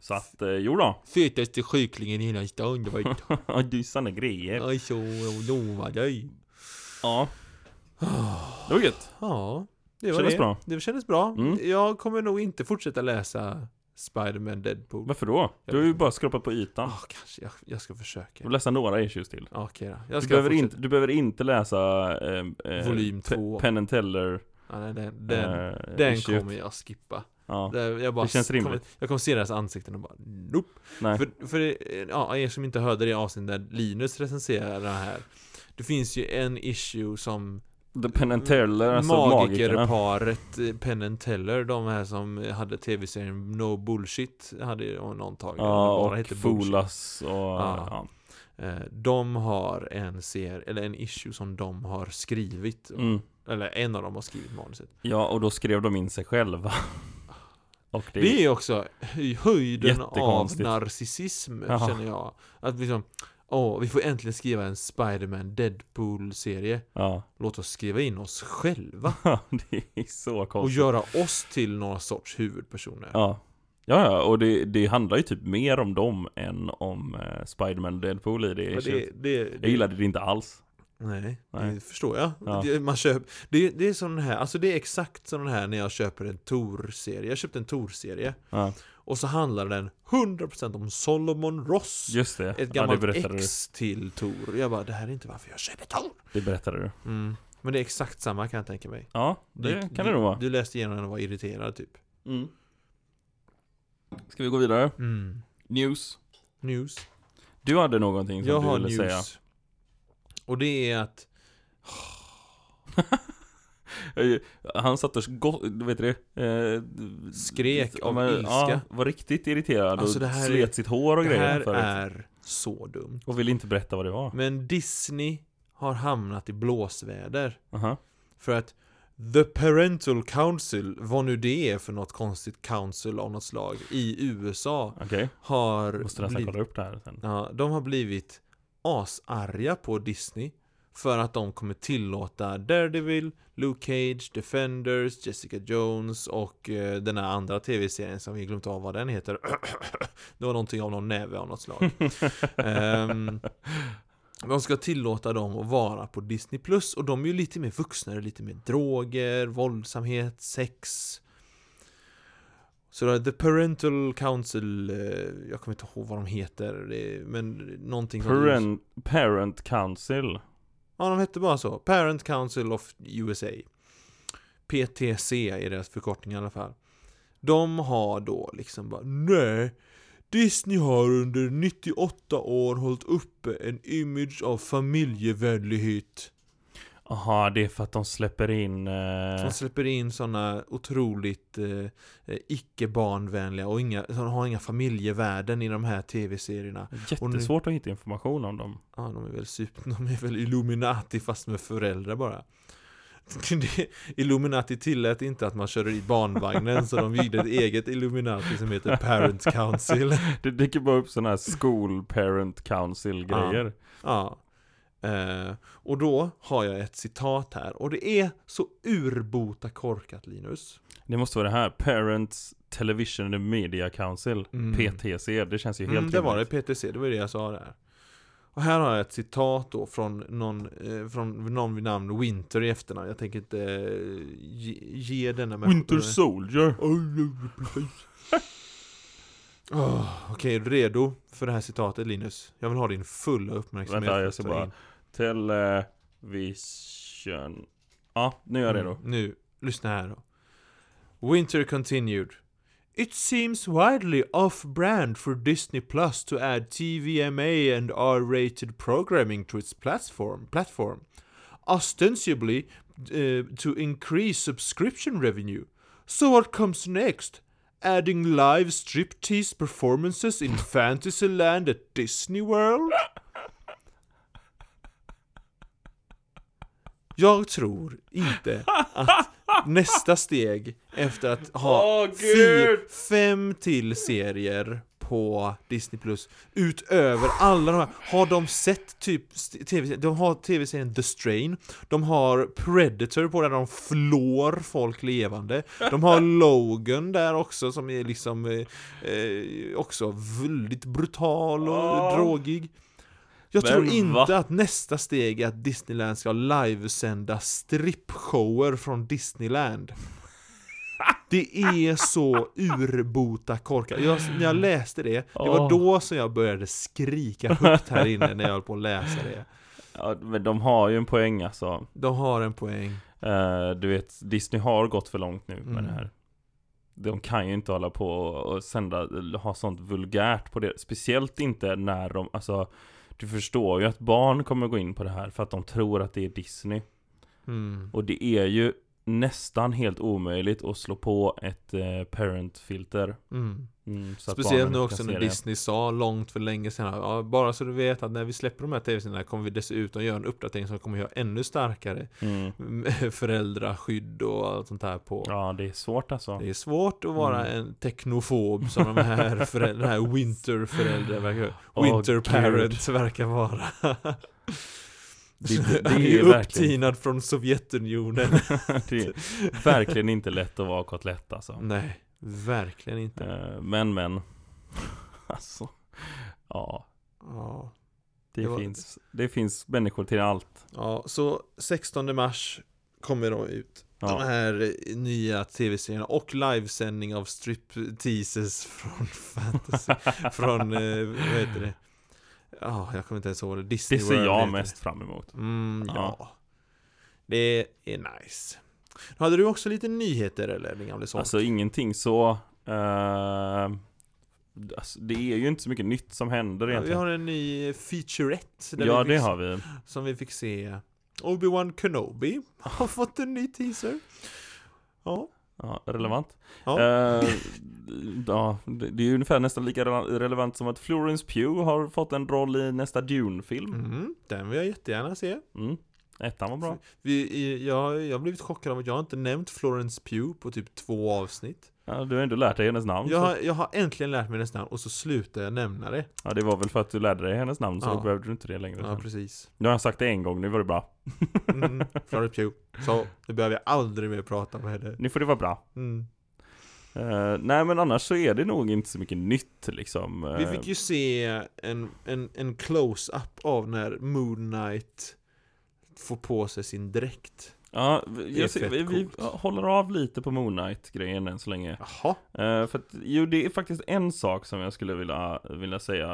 [SPEAKER 2] Så att, eh, jo då.
[SPEAKER 3] Fetaste skycklingen i hela stan, du vet.
[SPEAKER 2] Ja, det är sanna grejer
[SPEAKER 3] Alltså, jag lovar dig.
[SPEAKER 2] Ja Det var gött
[SPEAKER 3] Ja, det var
[SPEAKER 2] Kändes
[SPEAKER 3] det.
[SPEAKER 2] bra.
[SPEAKER 3] Det kändes bra.
[SPEAKER 2] Mm.
[SPEAKER 3] Jag kommer nog inte fortsätta läsa Spider-Man Deadpool.
[SPEAKER 2] Varför då? Du har ju bara skrapat på ytan
[SPEAKER 3] Ja, kanske. Jag, jag ska försöka.
[SPEAKER 2] Du får läsa några issues till
[SPEAKER 3] Ja, Okej då. Jag
[SPEAKER 2] du
[SPEAKER 3] ska
[SPEAKER 2] behöver,
[SPEAKER 3] fortsätta.
[SPEAKER 2] inte, du behöver inte läsa eh, eh,
[SPEAKER 3] Volym
[SPEAKER 2] Pe-
[SPEAKER 3] två.
[SPEAKER 2] Penn and Teller
[SPEAKER 3] Ja, nej, den den,
[SPEAKER 2] eh,
[SPEAKER 3] den
[SPEAKER 2] issue.
[SPEAKER 3] kommer jag skippa.
[SPEAKER 2] ja.
[SPEAKER 3] Det, jag bara
[SPEAKER 2] Det känns rimligt.
[SPEAKER 3] Kommer, jag kommer se deras ansikten och bara nope.
[SPEAKER 2] Nej.
[SPEAKER 3] För, för eh, ja, er som inte hörde det avsnittet där Linus recenserade den här. Det finns ju en issue som
[SPEAKER 2] The Penn and Teller, alltså magikerna
[SPEAKER 3] magikerparet eh, Penn and Teller, de här som eh, hade tv-serien No Bullshit, hade ju någon tagit.
[SPEAKER 2] Ja,
[SPEAKER 3] den bara
[SPEAKER 2] och
[SPEAKER 3] hette Bullshit.
[SPEAKER 2] Folas och...
[SPEAKER 3] Ja.
[SPEAKER 2] Ja.
[SPEAKER 3] Eh, De har en ser, eller en issue som de har skrivit.
[SPEAKER 2] Mm.
[SPEAKER 3] Eller en av dem har skrivit manuset.
[SPEAKER 2] ja, och då skrev de in sig själva. och det,
[SPEAKER 3] Det, är ju också höj- höjden av
[SPEAKER 2] Jättekonstigt.
[SPEAKER 3] narcissism,
[SPEAKER 2] Ja.
[SPEAKER 3] känner jag. Att liksom, åh, vi får äntligen skriva en Spider-Man Deadpool-serie.
[SPEAKER 2] Ja,
[SPEAKER 3] Låt oss skriva in oss själva.
[SPEAKER 2] det är så
[SPEAKER 3] Och
[SPEAKER 2] konstigt.
[SPEAKER 3] göra oss till några sorts huvudpersoner.
[SPEAKER 2] Ja. Ja, ja, och det, det handlar ju typ mer om dem än om eh, Spiderman och Deadpool i det.
[SPEAKER 3] Men
[SPEAKER 2] issues.
[SPEAKER 3] det, det,
[SPEAKER 2] Jag gillade det inte alls.
[SPEAKER 3] Nej,
[SPEAKER 2] Nej.
[SPEAKER 3] det förstår jag.
[SPEAKER 2] Ja.
[SPEAKER 3] Det, man köp, det, det är som den här, alltså det är exakt som den här när jag köper en Tor-serie. Jag köpte en Tor-serie.
[SPEAKER 2] Ja,
[SPEAKER 3] Och så handlar den 100% om Solomon Ross.
[SPEAKER 2] just det.
[SPEAKER 3] Ett
[SPEAKER 2] ja, det
[SPEAKER 3] gammalt
[SPEAKER 2] berättade du.
[SPEAKER 3] ex till Tor. Jag bara, det här är inte varför jag köper Tor.
[SPEAKER 2] Det berättade du.
[SPEAKER 3] Mm. Men det är exakt samma kan jag tänka mig.
[SPEAKER 2] Ja, det
[SPEAKER 3] Du-
[SPEAKER 2] kan
[SPEAKER 3] du,
[SPEAKER 2] det nog vara.
[SPEAKER 3] Du läste igenom den och var irriterad typ.
[SPEAKER 2] Mm. Ska vi gå vidare?
[SPEAKER 3] Mm.
[SPEAKER 2] News.
[SPEAKER 3] News.
[SPEAKER 2] Du hade någonting som
[SPEAKER 3] Jag
[SPEAKER 2] du
[SPEAKER 3] har
[SPEAKER 2] ville
[SPEAKER 3] news.
[SPEAKER 2] säga.
[SPEAKER 3] Och det är att,
[SPEAKER 2] Eh, Han satt och go- du vet det? Eh,
[SPEAKER 3] Skrek
[SPEAKER 2] ja,
[SPEAKER 3] av
[SPEAKER 2] men,
[SPEAKER 3] ilska.
[SPEAKER 2] Ja, var riktigt irriterad
[SPEAKER 3] Alltså,
[SPEAKER 2] och
[SPEAKER 3] det här
[SPEAKER 2] slet
[SPEAKER 3] är-
[SPEAKER 2] sitt hår och
[SPEAKER 3] det
[SPEAKER 2] grejer
[SPEAKER 3] här
[SPEAKER 2] förut.
[SPEAKER 3] är så dumt.
[SPEAKER 2] Och ville inte berätta vad det var.
[SPEAKER 3] Men Disney har hamnat i blåsväder.
[SPEAKER 2] Aha.
[SPEAKER 3] För att The Parental Council, vad nu det är för något konstigt council av något slag i USA
[SPEAKER 2] Okej,
[SPEAKER 3] har
[SPEAKER 2] måste nästan kolla upp det här sen.
[SPEAKER 3] ja, de har blivit asarga på Disney för att de kommer tillåta Daredevil, Luke Cage, Defenders, Jessica Jones och eh, den här andra tv-serien som vi glömt av vad den heter. det var någonting av någon näve av något slag. Ehm, de ska tillåta dem att vara på Disney+, Plus och de är ju lite mer vuxna, det är lite mer droger, våldsamhet, sex. Så det är The Parental Council, eh, jag kommer inte ihåg vad de heter, det är, men någonting som-
[SPEAKER 2] Parent, parent Council.
[SPEAKER 3] Ja, de hette bara så. Parent Council of USA. PTC är deras förkortning i alla fall. De har då liksom bara nej. Disney har under 98 år hållit uppe en image av familjevänlighet.
[SPEAKER 2] Aha, det är för att de släpper in...
[SPEAKER 3] De
[SPEAKER 2] Eh,
[SPEAKER 3] släpper in sådana otroligt eh, eh, icke barnvänliga och inga, som har inga familjevärden i de här tv-serierna. nu-
[SPEAKER 2] jättesvårt att hitta information om dem.
[SPEAKER 3] Ja, de är väl super, de är väl Illuminati fast med föräldrar bara. Det- Illuminati tillät inte att man körde i barnvagnen så de byggde ett eget Illuminati som heter Parent Council.
[SPEAKER 2] Det dyker bara upp sådana här school parent council grejer.
[SPEAKER 3] Ja. Eh, och då har jag ett citat här och det är så urbota korkat Linus.
[SPEAKER 2] Det måste vara det här. Parents Television and Media Council.
[SPEAKER 3] Mm.
[SPEAKER 2] PTC. Det känns ju helt
[SPEAKER 3] mm, det var det,
[SPEAKER 2] rimligt.
[SPEAKER 3] PTC, det var det jag sa där. Och här har jag ett citat då från någon, eh, från någon vid namn Winter i efternamn. Jag tänker inte eh, ge, ge denna människa-
[SPEAKER 2] Winter Soldier.
[SPEAKER 3] Åh, Okej, är du redo för det här citatet Linus? Jag vill ha din fulla uppmärksamhet.
[SPEAKER 2] Vänta, jag ska bara-
[SPEAKER 3] In.
[SPEAKER 2] Television. Ja, nu är jag redo.
[SPEAKER 3] Mm, nu, lyssna här då. Winter continued. It seems widely off-brand for Disney Plus to add TVMA and R-rated programming to its platform, platform ostensibly uh, to increase subscription revenue. So what comes next? Adding live striptease performances in Fantasyland at Disney World? Jag tror inte att nästa steg efter att ha
[SPEAKER 2] Åh,
[SPEAKER 3] fy-
[SPEAKER 2] Gud!
[SPEAKER 3] fem till serier på Disney Plus utöver alla de här. Har de sett typ st- tv De har tv-serien The Strain, de har Predator på där de flår folk levande, de har Logan där också som är liksom eh, eh, också väldigt brutal och
[SPEAKER 2] Ja.
[SPEAKER 3] drogig. Jag
[SPEAKER 2] Men
[SPEAKER 3] tror inte
[SPEAKER 2] va?
[SPEAKER 3] att nästa steg är att Disneyland ska livesända strippshower från Disneyland. Det är så urbota korkat. Jag, när jag läste det, det var
[SPEAKER 2] Åh.
[SPEAKER 3] då som jag började skrika högt här inne när jag höll på att läsa det.
[SPEAKER 2] Ja, men de har ju en poäng alltså.
[SPEAKER 3] De har en poäng.
[SPEAKER 2] Eh, du vet, Disney har gått för långt nu med
[SPEAKER 3] Mm.
[SPEAKER 2] det här. De kan ju inte hålla på och och sända, ha sånt vulgärt på det. Speciellt inte när de, alltså du förstår ju att barn kommer gå in på det här för att de tror att det är Disney.
[SPEAKER 3] Mm.
[SPEAKER 2] Och det är ju nästan helt omöjligt att slå på ett eh, parent-filter.
[SPEAKER 3] Mm.
[SPEAKER 2] Mm, så att barnen
[SPEAKER 3] Speciellt nu
[SPEAKER 2] inte
[SPEAKER 3] också
[SPEAKER 2] kan
[SPEAKER 3] när
[SPEAKER 2] se det.
[SPEAKER 3] Disney sa långt för länge sedan ja, Bara så du vet att när vi släpper de här tv-serierna kommer vi dessutom göra en uppdatering som kommer göra ännu starkare
[SPEAKER 2] Mm.
[SPEAKER 3] mm, föräldraskydd och allt sånt här på
[SPEAKER 2] Ja, Mm. det är svårt alltså.
[SPEAKER 3] Det är svårt att vara en teknofob som de här, föräldrar, den här winterföräldrar verkar
[SPEAKER 2] Åh,
[SPEAKER 3] Winter
[SPEAKER 2] gud.
[SPEAKER 3] parents verkar vara
[SPEAKER 2] Det- det- det
[SPEAKER 3] Han är
[SPEAKER 2] är
[SPEAKER 3] ju
[SPEAKER 2] verkligen-
[SPEAKER 3] upptinad från Sovjetunionen
[SPEAKER 2] det är verkligen inte lätt att vara kotlett alltså.
[SPEAKER 3] Nej, verkligen inte
[SPEAKER 2] Eh, Men men. Alltså. Ja.
[SPEAKER 3] ja.
[SPEAKER 2] Det,
[SPEAKER 3] Det var-
[SPEAKER 2] finns, det finns människor till allt.
[SPEAKER 3] ja, så 16 mars kommer de ut De
[SPEAKER 2] Ja.
[SPEAKER 3] här eh, nya tv-serierna och livesändning av stripteases från fantasy Från, eh, vad heter det? Ja, jag kommer inte ens ihåg det Disney
[SPEAKER 2] Det ser
[SPEAKER 3] World
[SPEAKER 2] jag
[SPEAKER 3] heter det.
[SPEAKER 2] mest fram emot.
[SPEAKER 3] Mm, ja.
[SPEAKER 2] Ja.
[SPEAKER 3] Det är nice. Hade du också lite nyheter eller din gamle son?
[SPEAKER 2] Alltså ingenting så... eh, alltså, det är ju inte så mycket nytt som händer
[SPEAKER 3] Ja, vi
[SPEAKER 2] egentligen.
[SPEAKER 3] har en ny featurette där
[SPEAKER 2] Ja
[SPEAKER 3] vi
[SPEAKER 2] det
[SPEAKER 3] fick,
[SPEAKER 2] har vi.
[SPEAKER 3] som vi fick se Obi-Wan Kenobi har fått en ny teaser. Ja,
[SPEAKER 2] Ja, relevant.
[SPEAKER 3] Ja.
[SPEAKER 2] Eh, d- ja, det det är ju ungefär nästan lika rele- relevant som att Florence Pugh har fått en roll i nästa Dune-film.
[SPEAKER 3] mm, den vill jag jättegärna se.
[SPEAKER 2] Mm. Ettan var bra.
[SPEAKER 3] Vi, i- jag, jag har blivit chockad av att jag har inte nämnt Florence Pugh på typ två avsnitt.
[SPEAKER 2] Ja, du har ändå lärt dig hennes namn.
[SPEAKER 3] Jag
[SPEAKER 2] Så,
[SPEAKER 3] har, jag har äntligen lärt mig hennes namn och så slutar jag nämna det.
[SPEAKER 2] ja, det var väl för att du lärde dig hennes namn så
[SPEAKER 3] Ja.
[SPEAKER 2] då behövde du inte det längre.
[SPEAKER 3] Ja,
[SPEAKER 2] sen.
[SPEAKER 3] precis.
[SPEAKER 2] nu har jag sagt det en gång, nu var det bra.
[SPEAKER 3] Mm, Florence Pugh. Så, nu behöver jag aldrig mer prata med henne.
[SPEAKER 2] Nu får det vara bra.
[SPEAKER 3] Mm.
[SPEAKER 2] Eh, nej men annars så är det nog inte så mycket nytt liksom. Eh,
[SPEAKER 3] Vi fick ju se en, en, en close-up av när Moon Knight får på sig sin dräkt.
[SPEAKER 2] ja, vi-
[SPEAKER 3] Det är
[SPEAKER 2] jag, ser-
[SPEAKER 3] fett
[SPEAKER 2] vi, vi
[SPEAKER 3] coolt.
[SPEAKER 2] håller av lite på Moon Knight-grejen än så länge.
[SPEAKER 3] Jaha,
[SPEAKER 2] Eh, för att, jo det är faktiskt en sak som jag skulle vilja, vilja säga.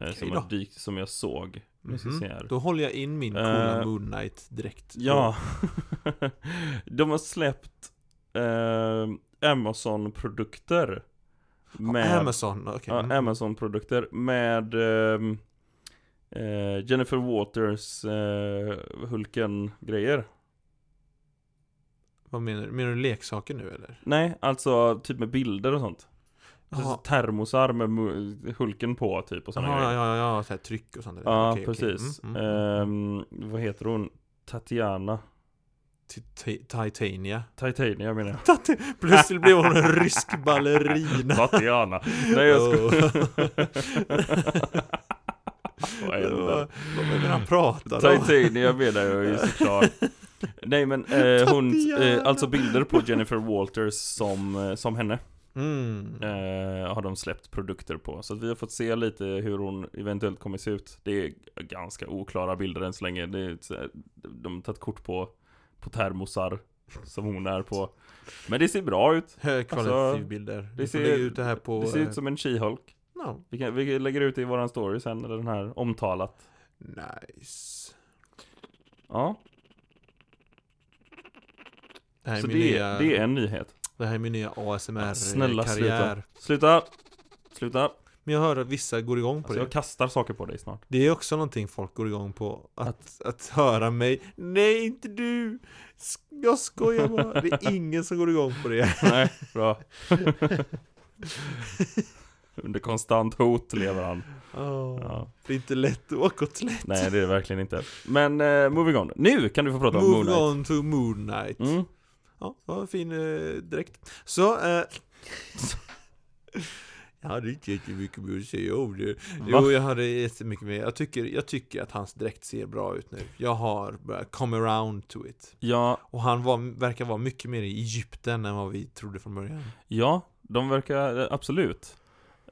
[SPEAKER 2] eh, som,
[SPEAKER 3] Okej då.
[SPEAKER 2] har dykt, som jag såg. Nu ska vi
[SPEAKER 3] Mhm.
[SPEAKER 2] se här.
[SPEAKER 3] då håller jag in min coola
[SPEAKER 2] Eh,
[SPEAKER 3] Moon Knight-dräkt.
[SPEAKER 2] Ja. De har släppt eh, Amazon-produkter.
[SPEAKER 3] Amazon, okej.
[SPEAKER 2] Ja,
[SPEAKER 3] Mm.
[SPEAKER 2] Amazon-produkter med ehm, eh, Jennifer Waters eh, Hulken-grejer.
[SPEAKER 3] Vad menar du? Menar du leksaker nu eller?
[SPEAKER 2] Nej, alltså typ med bilder och sånt. Så
[SPEAKER 3] Jaha.
[SPEAKER 2] termosar med mu- Hulken på typ och såna
[SPEAKER 3] Jaha,
[SPEAKER 2] grejer.
[SPEAKER 3] ja, ja, ja, så här tryck och sånt där.
[SPEAKER 2] Ja,
[SPEAKER 3] typ. Okej, okej.
[SPEAKER 2] precis.
[SPEAKER 3] Mm, mm, mm.
[SPEAKER 2] Ehm, vad heter hon? Tatiana.
[SPEAKER 3] Tita- Titania.
[SPEAKER 2] Titania menar jag.
[SPEAKER 3] Plötsligt blev hon en rysk ballerina.
[SPEAKER 2] Tatiana. Nej jag
[SPEAKER 3] Oh.
[SPEAKER 2] skojar. Vad
[SPEAKER 3] Vad
[SPEAKER 2] händer?
[SPEAKER 3] vad menar han pratar om?
[SPEAKER 2] Titania menar jag ju såklart. Nej men eh, hon, eh,
[SPEAKER 3] Tatiana.
[SPEAKER 2] alltså bilder på Jennifer Walters som, eh, som henne
[SPEAKER 3] Mm.
[SPEAKER 2] eh, har de släppt produkter på. Så att vi har fått se lite hur hon eventuellt kommer se ut. Det är ganska oklara bilder än så länge. Det är, så här- de har tagit kort på, på termosar som hon är på. Men det ser bra ut. Alltså,
[SPEAKER 3] Högkvalitativbilder.
[SPEAKER 2] det
[SPEAKER 3] Vi får
[SPEAKER 2] ser-
[SPEAKER 3] lägga ut det här på...
[SPEAKER 2] Det ser
[SPEAKER 3] eh,
[SPEAKER 2] ut som en She-Hulk.
[SPEAKER 3] ja.
[SPEAKER 2] Vi, kan, vi lägger ut det i våran story sen, eller den här omtalat.
[SPEAKER 3] Nice.
[SPEAKER 2] Ja,
[SPEAKER 3] Det här är
[SPEAKER 2] så
[SPEAKER 3] min
[SPEAKER 2] det,
[SPEAKER 3] nya,
[SPEAKER 2] det är en nyhet.
[SPEAKER 3] det här är min nya ASMR-karriär.
[SPEAKER 2] Snälla sluta. Sluta! Sluta!
[SPEAKER 3] Men jag hör att vissa går igång på
[SPEAKER 2] Alltså,
[SPEAKER 3] det.
[SPEAKER 2] jag kastar saker på dig snart.
[SPEAKER 3] Det är också någonting folk går igång på. Att, att, höra mig. Nej, inte du! Sk- Jag skojar bara. Det är ingen som går igång på det.
[SPEAKER 2] Nej, bra. Under konstant hot lever han.
[SPEAKER 3] Åh,
[SPEAKER 2] Ja.
[SPEAKER 3] Det är inte lätt att åka åt lätt.
[SPEAKER 2] Nej, det är det verkligen inte. Men eh, moving on. Nu kan du få prata om Moon
[SPEAKER 3] Move
[SPEAKER 2] Knight.
[SPEAKER 3] on to Moon Knight.
[SPEAKER 2] Mm.
[SPEAKER 3] Ja, det var en fin eh, dräkt. Så, eh, Jag hade inte jättemycket mer att säga om det. Jo, jag hade jättemycket mer. Jag tycker, jag tycker att hans dräkt ser bra ut nu. Jag har börjat come around to it.
[SPEAKER 2] Ja,
[SPEAKER 3] Och han var, verkar vara mycket mer i Egypten än vad vi trodde från början.
[SPEAKER 2] ja, de verkar eh, absolut.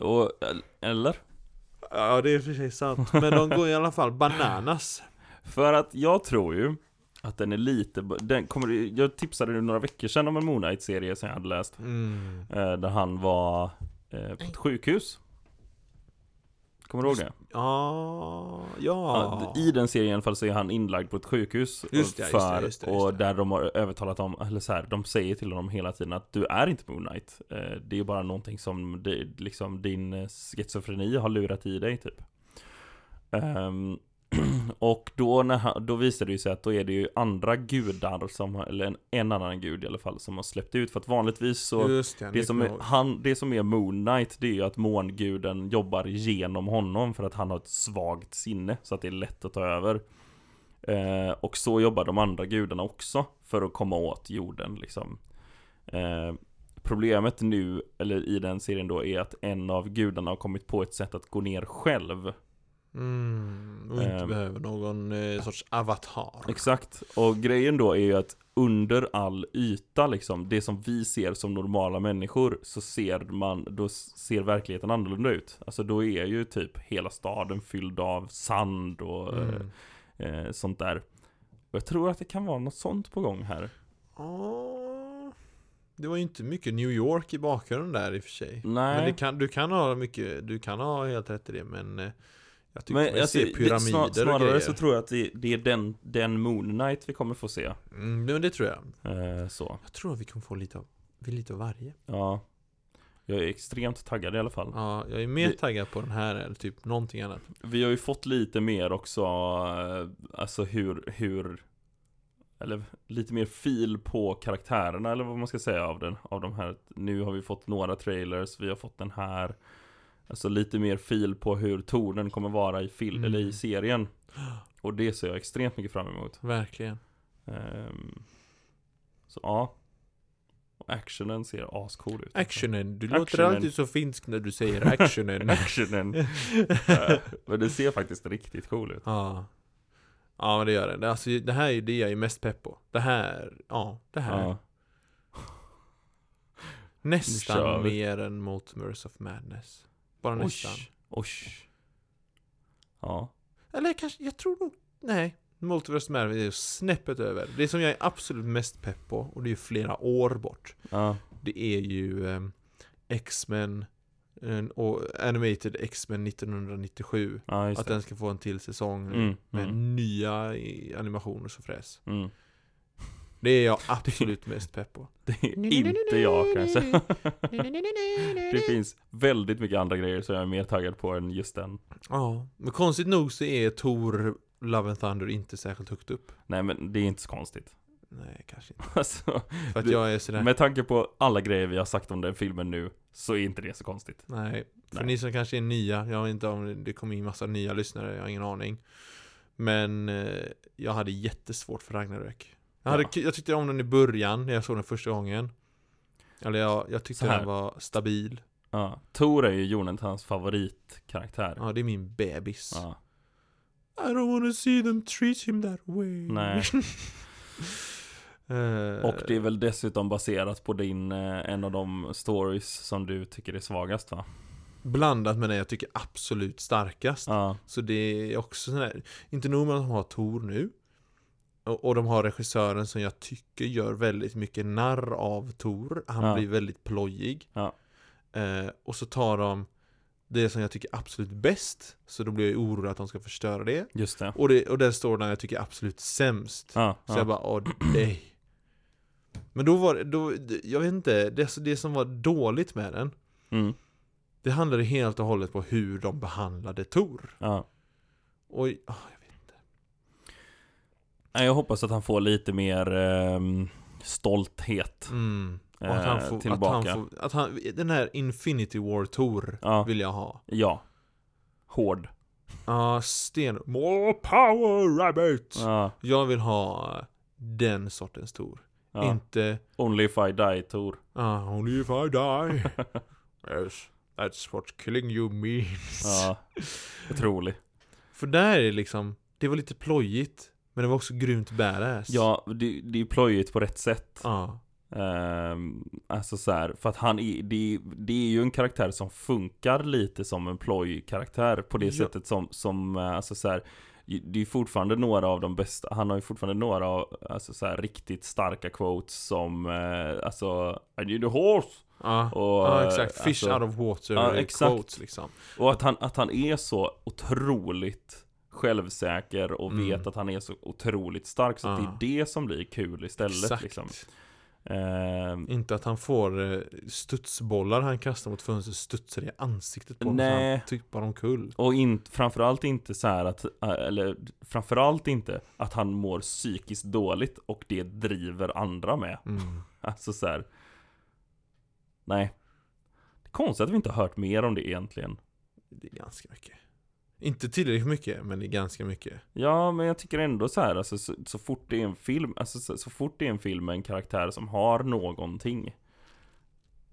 [SPEAKER 2] Och, eh, eller?
[SPEAKER 3] Ja, det är i och för sig sant. Men de går i alla fall bananas.
[SPEAKER 2] För att jag tror ju att den är lite, den kommer, jag tipsade ju några veckor sedan om en Moon Knight-serie som jag hade läst.
[SPEAKER 3] Mm.
[SPEAKER 2] eh, Där han var eh, på ett sjukhus. Kommer du ihåg det?
[SPEAKER 3] Ja,
[SPEAKER 2] Ja,
[SPEAKER 3] ja.
[SPEAKER 2] d- I den serien i alla fall så är han inlagd på ett sjukhus. och
[SPEAKER 3] Just det, just det,
[SPEAKER 2] för-
[SPEAKER 3] just det, just
[SPEAKER 2] och
[SPEAKER 3] det.
[SPEAKER 2] där de har övertalat om, eller så här, de säger till honom hela tiden att du är inte Moon Knight. Eh, Det är bara någonting som det- liksom, din eh, schizofreni har lurat i dig typ. Ehm, och då, när han, då visar det ju sig att då är det ju andra gudar, som, har- eller en, en annan gud i alla fall, som har släppt ut. För att vanligtvis så
[SPEAKER 3] Just det,
[SPEAKER 2] det
[SPEAKER 3] nu
[SPEAKER 2] som,
[SPEAKER 3] kommer
[SPEAKER 2] är,
[SPEAKER 3] jag ihåg.
[SPEAKER 2] han, det som är Moon Knight, det är ju att månguden jobbar genom honom för att han har ett svagt sinne, så att det är lätt att ta över. Eh, och så jobbar de andra gudarna också, för att komma åt jorden liksom. Eh, problemet nu, eller i den serien då, är att en av gudarna har kommit på ett sätt att gå ner själv.
[SPEAKER 3] Mm, och inte
[SPEAKER 2] Ehm.
[SPEAKER 3] behöver någon eh, sorts avatar.
[SPEAKER 2] Exakt, och grejen då är ju att under all yta liksom, det som vi ser som normala människor så ser man, då ser verkligheten annorlunda ut. Alltså då är ju typ hela staden fylld av sand och
[SPEAKER 3] Mm.
[SPEAKER 2] eh, eh, sånt där. Och Jag tror att det kan vara något sånt på gång här.
[SPEAKER 3] Ja, Det var ju inte mycket New York i bakgrunden där i och för sig. Men
[SPEAKER 2] Nej,
[SPEAKER 3] det kan, typ du kan ha mycket, du kan ha helt rätt i det men eh, jag tycker
[SPEAKER 2] men
[SPEAKER 3] vi
[SPEAKER 2] alltså,
[SPEAKER 3] ser
[SPEAKER 2] det-
[SPEAKER 3] pyramider
[SPEAKER 2] snar-
[SPEAKER 3] och grejer.
[SPEAKER 2] snarare så tror jag att det, det är den, den Moon Knight vi kommer få se.
[SPEAKER 3] mm, men det tror jag.
[SPEAKER 2] Eh, så,
[SPEAKER 3] Jag tror att vi kommer få lite av, vi lite av varje.
[SPEAKER 2] ja. Jag är extremt taggad i alla fall.
[SPEAKER 3] Ja, jag är mer
[SPEAKER 2] Vi-
[SPEAKER 3] taggad på den här eller typ någonting annat.
[SPEAKER 2] Vi har ju fått lite mer också, eh, alltså hur, hur eller lite mer fil på karaktärerna eller vad man ska säga av den, av de här. Nu har vi fått några trailers, vi har fått den här. Alltså lite mer fil på hur tonen kommer vara i, fil,
[SPEAKER 3] Mm.
[SPEAKER 2] eller i serien. Och det ser jag extremt mycket fram emot.
[SPEAKER 3] Verkligen.
[SPEAKER 2] Ehm, så ja. Och Actionen ser ascool ut. alltså.
[SPEAKER 3] Actionen, du låter
[SPEAKER 2] Actionen.
[SPEAKER 3] alltid så finsk när du säger actionen.
[SPEAKER 2] Actionen. Eh, Men det ser faktiskt riktigt cool ut.
[SPEAKER 3] ja. Ja men det gör det. det. Alltså, det här är det jag är mest pepp på. Det här, ja det här.
[SPEAKER 2] Ja. Nu kör
[SPEAKER 3] Nästan
[SPEAKER 2] vi.
[SPEAKER 3] mer än mot Murs of Madness. Bara nästan.
[SPEAKER 2] Osh. Ja.
[SPEAKER 3] Eller kanske, jag tror nog, nej. Multiverse Madness är snäppet över. Det som jag är absolut mest pepp på, och det är ju flera år bort,
[SPEAKER 2] ja.
[SPEAKER 3] det är ju eh, X-Men, eh, och Animated X-Men 1997.
[SPEAKER 2] Ja, just
[SPEAKER 3] Att
[SPEAKER 2] det.
[SPEAKER 3] den ska få en till säsong nu.
[SPEAKER 2] Mm,
[SPEAKER 3] Med
[SPEAKER 2] mm,
[SPEAKER 3] nya i- animationer så fräs.
[SPEAKER 2] mm.
[SPEAKER 3] Det är jag absolut mest pepp på.
[SPEAKER 2] Det är inte jag kanske. Det finns väldigt mycket andra grejer som jag är mer taggad på än just den.
[SPEAKER 3] Ja, men konstigt nog så är Tor Love and Thunder inte särskilt högt upp.
[SPEAKER 2] Nej men det är inte så konstigt.
[SPEAKER 3] Nej, kanske inte.
[SPEAKER 2] Alltså,
[SPEAKER 3] För att
[SPEAKER 2] Du-
[SPEAKER 3] jag är sådär,
[SPEAKER 2] med tanke på alla grejer vi har sagt om den filmen nu, så är inte det så konstigt.
[SPEAKER 3] nej. För
[SPEAKER 2] Nej.
[SPEAKER 3] ni som kanske är nya, jag vet inte om det- det kommer in massa nya lyssnare, jag har ingen aning. Men eh, jag hade jättesvårt för Ragnarök. Jag, hade,
[SPEAKER 2] Ja.
[SPEAKER 3] jag tyckte om den i början, när jag såg den första gången. Eller jag, jag
[SPEAKER 2] Så
[SPEAKER 3] tyckte
[SPEAKER 2] här.
[SPEAKER 3] den var stabil.
[SPEAKER 2] Ja. Thor är ju Jonathans favoritkaraktär.
[SPEAKER 3] Ja, det är min bebis.
[SPEAKER 2] Ja.
[SPEAKER 3] I don't wanna see them treat him that way.
[SPEAKER 2] Nej.
[SPEAKER 3] Eh,
[SPEAKER 2] Och det är väl dessutom baserat på din, eh, en av de stories som du tycker är svagast va?
[SPEAKER 3] Blandat med den jag tycker är absolut starkast.
[SPEAKER 2] Ja,
[SPEAKER 3] Så det är också sån här, inte nog med att de har Tor nu. Och, och de har regissören som jag tycker gör väldigt mycket narr av Tor. Han
[SPEAKER 2] Ja.
[SPEAKER 3] blir väldigt plojig.
[SPEAKER 2] Ja.
[SPEAKER 3] Eh, och så tar de det som jag tycker är absolut bäst. Så då blir jag ju orolig att de ska förstöra det.
[SPEAKER 2] just det.
[SPEAKER 3] Och, det, och där står den jag tycker är absolut sämst.
[SPEAKER 2] Ja,
[SPEAKER 3] Så
[SPEAKER 2] ja.
[SPEAKER 3] jag bara, åh nej. Men då var det, då, jag vet inte, det, alltså det som var dåligt med den,
[SPEAKER 2] Mm,
[SPEAKER 3] det handlade helt och hållet på hur de behandlade Tor.
[SPEAKER 2] ja.
[SPEAKER 3] Och, ah, jag vet inte.
[SPEAKER 2] Nej, Jag hoppas att han får lite mer ehm, stolthet.
[SPEAKER 3] Mm. Och att han
[SPEAKER 2] Eh,
[SPEAKER 3] får,
[SPEAKER 2] tillbaka.
[SPEAKER 3] Att han får, att han, den här Infinity War Tour
[SPEAKER 2] Ja,
[SPEAKER 3] vill jag ha.
[SPEAKER 2] ja. Hård.
[SPEAKER 3] Ja, sten... More power rabbit!
[SPEAKER 2] Ja,
[SPEAKER 3] Jag vill ha den sortens Tour.
[SPEAKER 2] ja.
[SPEAKER 3] Inte...
[SPEAKER 2] Only if I die Thor.
[SPEAKER 3] ah only if I die. yes, that's what killing you means.
[SPEAKER 2] Ja, otrolig.
[SPEAKER 3] För där är det liksom, det var lite plojigt. Men det var också grymt badass.
[SPEAKER 2] Ja, det, det är plojigt på rätt sätt.
[SPEAKER 3] Ja.
[SPEAKER 2] Ehm, alltså så här, för att han är, det, det är ju en karaktär som funkar lite som en ploj-karaktär på det
[SPEAKER 3] Ja.
[SPEAKER 2] sättet som, som eh, alltså så här, det är fortfarande några av de bästa, han har ju fortfarande några av, alltså så här, riktigt starka quotes som, eh, alltså I need a horse!
[SPEAKER 3] Ja.
[SPEAKER 2] Och,
[SPEAKER 3] ja,
[SPEAKER 2] eh,
[SPEAKER 3] exakt. Fish
[SPEAKER 2] alltså-
[SPEAKER 3] out of water
[SPEAKER 2] Ja,
[SPEAKER 3] eh,
[SPEAKER 2] exakt.
[SPEAKER 3] quotes liksom.
[SPEAKER 2] Och att han, att han är så otroligt självsäker och
[SPEAKER 3] Mm.
[SPEAKER 2] vet att han är så otroligt stark så att
[SPEAKER 3] Ja.
[SPEAKER 2] det är det som blir kul istället
[SPEAKER 3] Exakt.
[SPEAKER 2] liksom. Ehm,
[SPEAKER 3] Inte att han får eh, studsbollar han kastar mot fönstret studsar i ansiktet på honom
[SPEAKER 2] Nej.
[SPEAKER 3] så han tippar omkull.
[SPEAKER 2] Och in, framförallt inte så här att, äh, eller framförallt inte att han mår psykiskt dåligt och det driver andra med.
[SPEAKER 3] Mm.
[SPEAKER 2] Alltså så här. Nej. Det är konstigt att vi inte har hört mer om det egentligen.
[SPEAKER 3] Det är ganska mycket. Inte tillräckligt mycket, men det är ganska mycket.
[SPEAKER 2] Ja, men jag tycker ändå så här, alltså, så, så fort det är en film, alltså så, så fort det är en film med en karaktär som har någonting.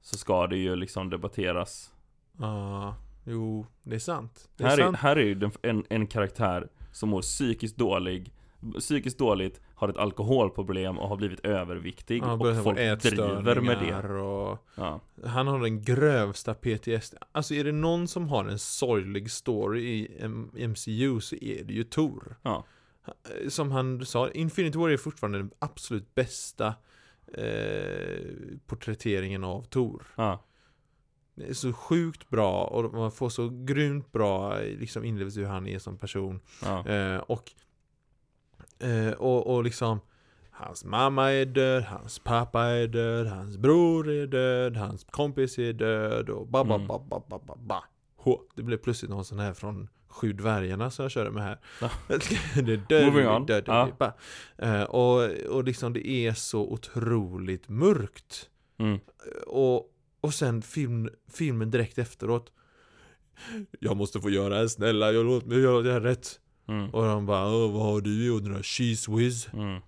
[SPEAKER 2] Så ska det ju liksom debatteras.
[SPEAKER 3] Ja, jo, det är sant. Det är
[SPEAKER 2] Här är,
[SPEAKER 3] sant.
[SPEAKER 2] här är ju den, en, en karaktär som mår psykiskt dålig Psykiskt dåligt, har ett alkoholproblem och har blivit överviktig
[SPEAKER 3] Ja, börjar få
[SPEAKER 2] och folk driver med det
[SPEAKER 3] ätstörningar Och
[SPEAKER 2] ja.
[SPEAKER 3] han har den grövsta PTSD. Alltså är det någon som har en sorglig story i M- MCU så är det ju Tor.
[SPEAKER 2] Ja.
[SPEAKER 3] Eh, Som han sa, Infinity War är fortfarande den absolut bästa eh, porträtteringen av Tor.
[SPEAKER 2] Ja.
[SPEAKER 3] Det är så sjukt bra och man får så grymt bra eh, liksom, inlevelse i hur han är som person.
[SPEAKER 2] Ja.
[SPEAKER 3] Eh, och, eh, och, och liksom Hans mamma är död, hans pappa är död, hans bror är död, hans kompis är död och ba ba
[SPEAKER 2] Mm.
[SPEAKER 3] ba ba ba ba ba. Hå, det blev plötsligt någon sån här från Sju dvärgarna som jag körde med här.
[SPEAKER 2] Ja.
[SPEAKER 3] det är död,
[SPEAKER 2] Moving
[SPEAKER 3] det är
[SPEAKER 2] on.
[SPEAKER 3] död, det är
[SPEAKER 2] Ja.
[SPEAKER 3] ba. Eh, och, och liksom det är så otroligt mörkt. Eh,
[SPEAKER 2] Mm.
[SPEAKER 3] Och, och sen film, filmen direkt efteråt Jag måste få göra det, snälla, jag låt mig göra det här rätt
[SPEAKER 2] Mm.
[SPEAKER 3] Och de bara "Åh, vad har du gjort nu Cheese whiz
[SPEAKER 2] Mm.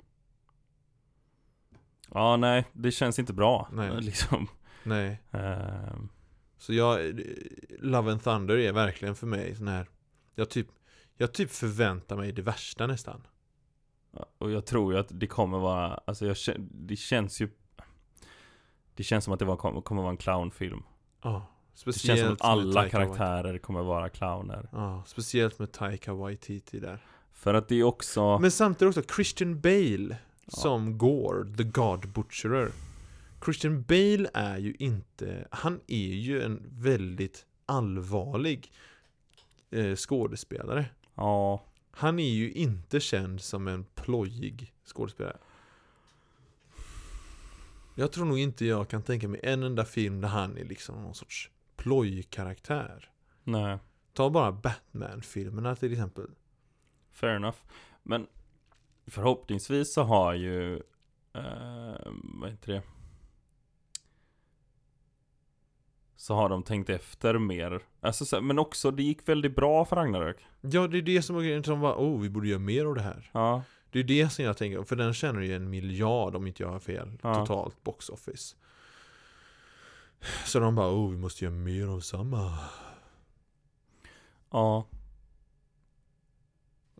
[SPEAKER 2] ja, nej, det känns inte bra
[SPEAKER 3] Nej.
[SPEAKER 2] liksom.
[SPEAKER 3] Nej,
[SPEAKER 2] Ehm,
[SPEAKER 3] så jag Love and Thunder är verkligen för mig sån här Jag typ Jag typ förväntar mig det värsta nästan
[SPEAKER 2] Och jag tror ju att det kommer vara, alltså jag, kä- det känns ju Det känns som att det var, kommer vara en clownfilm
[SPEAKER 3] Ja
[SPEAKER 2] Det
[SPEAKER 3] Speciellt
[SPEAKER 2] känns som att
[SPEAKER 3] med
[SPEAKER 2] alla
[SPEAKER 3] Taika Waititi.
[SPEAKER 2] karaktärer kommer vara clowner
[SPEAKER 3] Ja, speciellt med Taika Waititi där
[SPEAKER 2] För att det är också
[SPEAKER 3] Men samtidigt också Christian Bale som går The God Butcherer. Christian Bale är ju inte, han är ju en väldigt allvarlig eh, skådespelare.
[SPEAKER 2] Ja,
[SPEAKER 3] Han är ju inte känd som en plojig skådespelare. Jag tror nog inte jag kan tänka mig en enda film där han är liksom någon sorts plojkaraktär.
[SPEAKER 2] Nej,
[SPEAKER 3] Ta bara Batman-filmerna till exempel.
[SPEAKER 2] fair enough. Men förhoppningsvis så har ju, eh, vad heter det? Så har de tänkt efter mer. Alltså, så, men också, det gick väldigt bra för Ragnarök.
[SPEAKER 3] Ja, det är det som är grejen. Som bara, oh, vi borde göra mer av det här.
[SPEAKER 2] Ja,
[SPEAKER 3] Det är det som jag tänker, för den tjänar ju en miljard om inte jag har fel.
[SPEAKER 2] Ja.
[SPEAKER 3] Totalt box office. Så de bara, oh, vi måste göra mer av samma.
[SPEAKER 2] ja,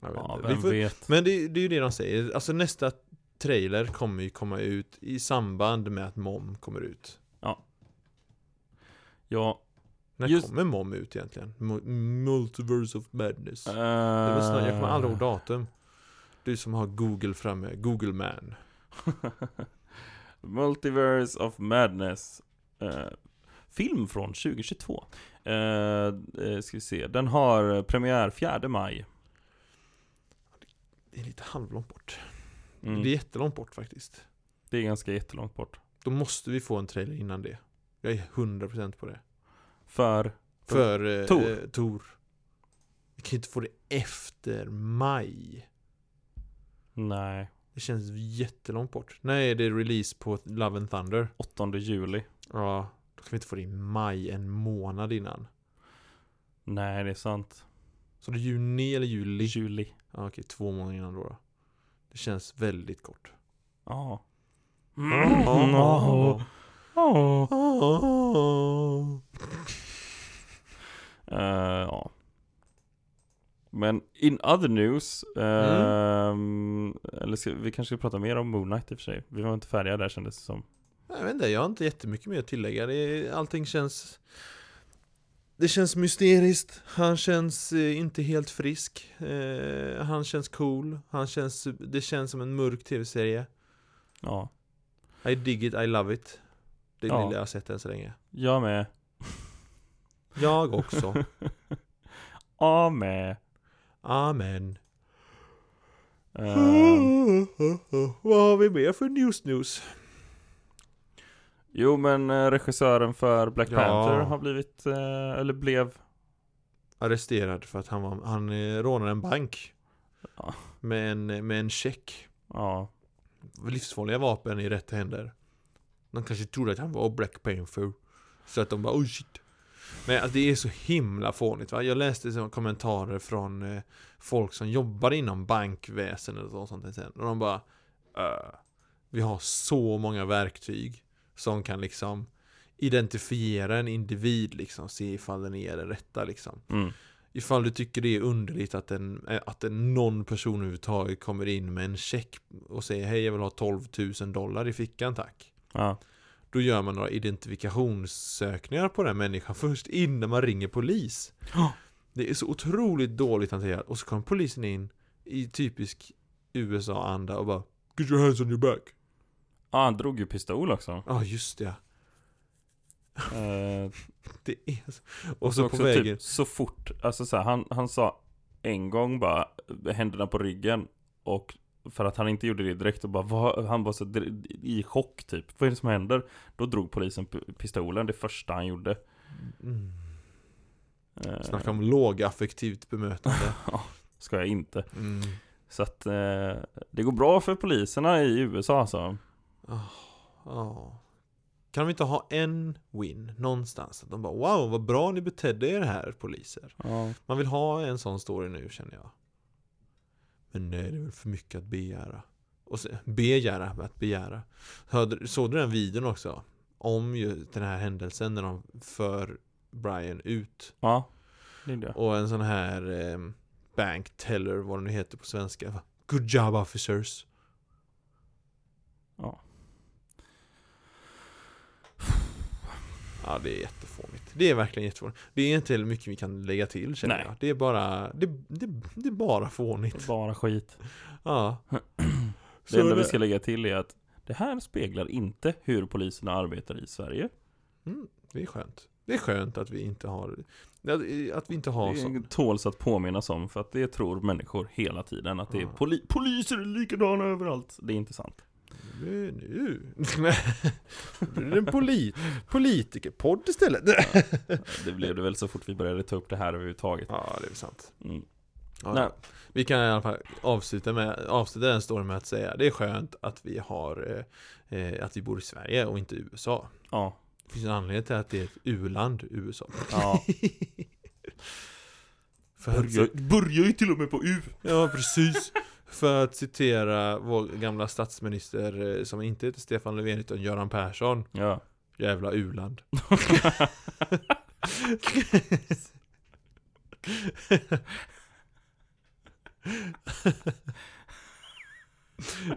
[SPEAKER 3] Jag vet
[SPEAKER 2] ja
[SPEAKER 3] inte. Vi
[SPEAKER 2] vem
[SPEAKER 3] får-
[SPEAKER 2] vet.
[SPEAKER 3] Men det, det är ju det de säger. Alltså nästa trailer kommer ju komma ut i samband med att MOM kommer ut.
[SPEAKER 2] Ja,
[SPEAKER 3] När
[SPEAKER 2] Just-
[SPEAKER 3] kommer MOM ut egentligen? Mu- Multiverse of Madness.
[SPEAKER 2] eh,
[SPEAKER 3] Det är väl snart, jag kommer aldrig ihåg datum. Du som har Google framme, Google man.
[SPEAKER 2] eh, Multiverse of Madness. Eh, film från 2022. Eh, eh, ska vi se. Den har premiär 4 maj.
[SPEAKER 3] Det är lite halvlångt bort.
[SPEAKER 2] Mm.
[SPEAKER 3] Det är jättelångt bort faktiskt.
[SPEAKER 2] Det är ganska jättelångt bort.
[SPEAKER 3] Då måste vi få en trailer innan det. Jag är 100% på det.
[SPEAKER 2] För,
[SPEAKER 3] För eh,
[SPEAKER 2] Tor.
[SPEAKER 3] Eh, Tor. Vi kan ju inte få det efter maj.
[SPEAKER 2] nej,
[SPEAKER 3] Det känns jättelångt bort. Nej, det är release på Love and Thunder.
[SPEAKER 2] 8 juli.
[SPEAKER 3] Ja, då kan vi inte få det i maj, en månad innan.
[SPEAKER 2] Nej, det är sant.
[SPEAKER 3] Så det är juni eller juli?
[SPEAKER 2] Juli.
[SPEAKER 3] Ja, okej, två månader innan då. då. Det känns väldigt kort.
[SPEAKER 2] Ja.
[SPEAKER 3] Mm.
[SPEAKER 2] Ja. Ja. Eh, ja. Men in other news, ehm, eller ska, vi kanske ska prata mer om Moon Knight i och för sig. Vi var inte färdiga där kändes det som.
[SPEAKER 3] Jag vet inte, jag har inte jättemycket mer att tillägga. Det är, allting känns... Det känns mysteriskt, han känns eh, inte helt frisk, eh, han känns cool, han känns, det känns som en mörk tv-serie.
[SPEAKER 2] Ja,
[SPEAKER 3] I dig it, I love it. Det är
[SPEAKER 2] Ja.
[SPEAKER 3] lilla jag har sett än så länge.
[SPEAKER 2] jag med.
[SPEAKER 3] Jag också.
[SPEAKER 2] Ja med.
[SPEAKER 3] Amen.
[SPEAKER 2] Ehm,
[SPEAKER 3] Vad har vi mer för news news?
[SPEAKER 2] jo men eh, regissören för Black
[SPEAKER 3] Ja.
[SPEAKER 2] Panther har blivit, eh, eller blev,
[SPEAKER 3] Arresterad för att han, var, han eh, rånade en bank.
[SPEAKER 2] Ja.
[SPEAKER 3] Med, en, med en check.
[SPEAKER 2] ja.
[SPEAKER 3] Livsfarliga vapen i rätt händer. De kanske trodde att han var Black Panther. Så att de bara oh shit. Men alltså, det är så himla fånigt va. Jag läste så- kommentarer från eh, folk som jobbar inom bankväsendet och sånt. där sen. Och de bara "Eh, Vi har så många verktyg som kan liksom identifiera en individ liksom. Se ifall den är den rätta liksom.
[SPEAKER 2] Mm.
[SPEAKER 3] Ifall du tycker det är underligt att, en, eh, att en någon person överhuvudtaget kommer in med en check och säger hej jag vill ha 12 000 dollar i fickan tack.
[SPEAKER 2] Ja.
[SPEAKER 3] Då gör man några identifikationssökningar på den människan först innan man ringer polis.
[SPEAKER 2] Ja.
[SPEAKER 3] Det är så otroligt dåligt hanterat. Och så kom polisen in i typisk USA-anda och bara Get your hands on your back.
[SPEAKER 2] Ah, han drog ju pistol också.
[SPEAKER 3] Ja ah, just det. ja.
[SPEAKER 2] Eh,
[SPEAKER 3] det är så. Och så på
[SPEAKER 2] också
[SPEAKER 3] vägen.
[SPEAKER 2] Typ, så fort, alltså så här, han, han sa en gång bara händerna på ryggen och för att han inte gjorde det direkt och bara vad, han var så dr- i chock typ. Vad är det som händer? Då drog polisen p- pistolen, det första han gjorde.
[SPEAKER 3] Mm.
[SPEAKER 2] Eh,
[SPEAKER 3] Snacka om lågaffektivt bemötande.
[SPEAKER 2] Ska jag inte.
[SPEAKER 3] Mm.
[SPEAKER 2] Så att eh, det går bra för poliserna i USA alltså.
[SPEAKER 3] Ja. Kan de inte ha en win någonstans? Att de bara wow, vad bra ni betedde er här poliser.
[SPEAKER 2] Ja.
[SPEAKER 3] Man vill ha en sån story nu känner jag. Men nej, det är väl för mycket att begära. Och se, begära, att begära. Hörde, såg du den videon också? Om ju den här händelsen när de för Brian ut.
[SPEAKER 2] Ja. Det är det.
[SPEAKER 3] Och en sån här eh, bank teller, vad den nu heter på svenska. va? Good job officers.
[SPEAKER 2] Ja.
[SPEAKER 3] Ja, det är jättefånigt. Det är verkligen jättefånigt. Det är inte heller mycket vi kan lägga till känner
[SPEAKER 2] Nej.
[SPEAKER 3] jag. Det är bara, det, det, det är bara fånigt.
[SPEAKER 2] Bara skit.
[SPEAKER 3] Ja.
[SPEAKER 2] Det enda
[SPEAKER 3] Så
[SPEAKER 2] vi
[SPEAKER 3] det-
[SPEAKER 2] ska lägga till är att det här speglar inte hur poliserna arbetar i Sverige.
[SPEAKER 3] Mm, det är skönt. Det är skönt att vi inte har, att, att vi inte har
[SPEAKER 2] Det
[SPEAKER 3] så.
[SPEAKER 2] tåls att påminnas om för att det tror människor hela tiden att det är
[SPEAKER 3] Ja.
[SPEAKER 2] poli- poliser är likadana överallt. Det är inte sant.
[SPEAKER 3] Nu, nu.
[SPEAKER 1] Det är en polit politikerpodd istället.
[SPEAKER 2] Det blev det väl så fort vi började ta upp det här överhuvudtaget.
[SPEAKER 3] Ja, det är väl sant.
[SPEAKER 2] Mm.
[SPEAKER 3] Ja,
[SPEAKER 2] Nej.
[SPEAKER 3] ja. Vi kan i alla fall avsluta, med, avsluta den storyn med att säga det är skönt att vi har eh, eh, att vi bor i Sverige och inte i USA.
[SPEAKER 2] Ja.
[SPEAKER 3] Det finns en anledning till att det är ett u-land, USA.
[SPEAKER 2] ja.
[SPEAKER 3] För att,
[SPEAKER 2] Börjar- Börjar ju till och med på U.
[SPEAKER 3] ja, precis. För att citera vår gamla statsminister eh, som inte heter Stefan Löfven utan Göran Persson.
[SPEAKER 2] Ja.
[SPEAKER 3] Jävla u-land.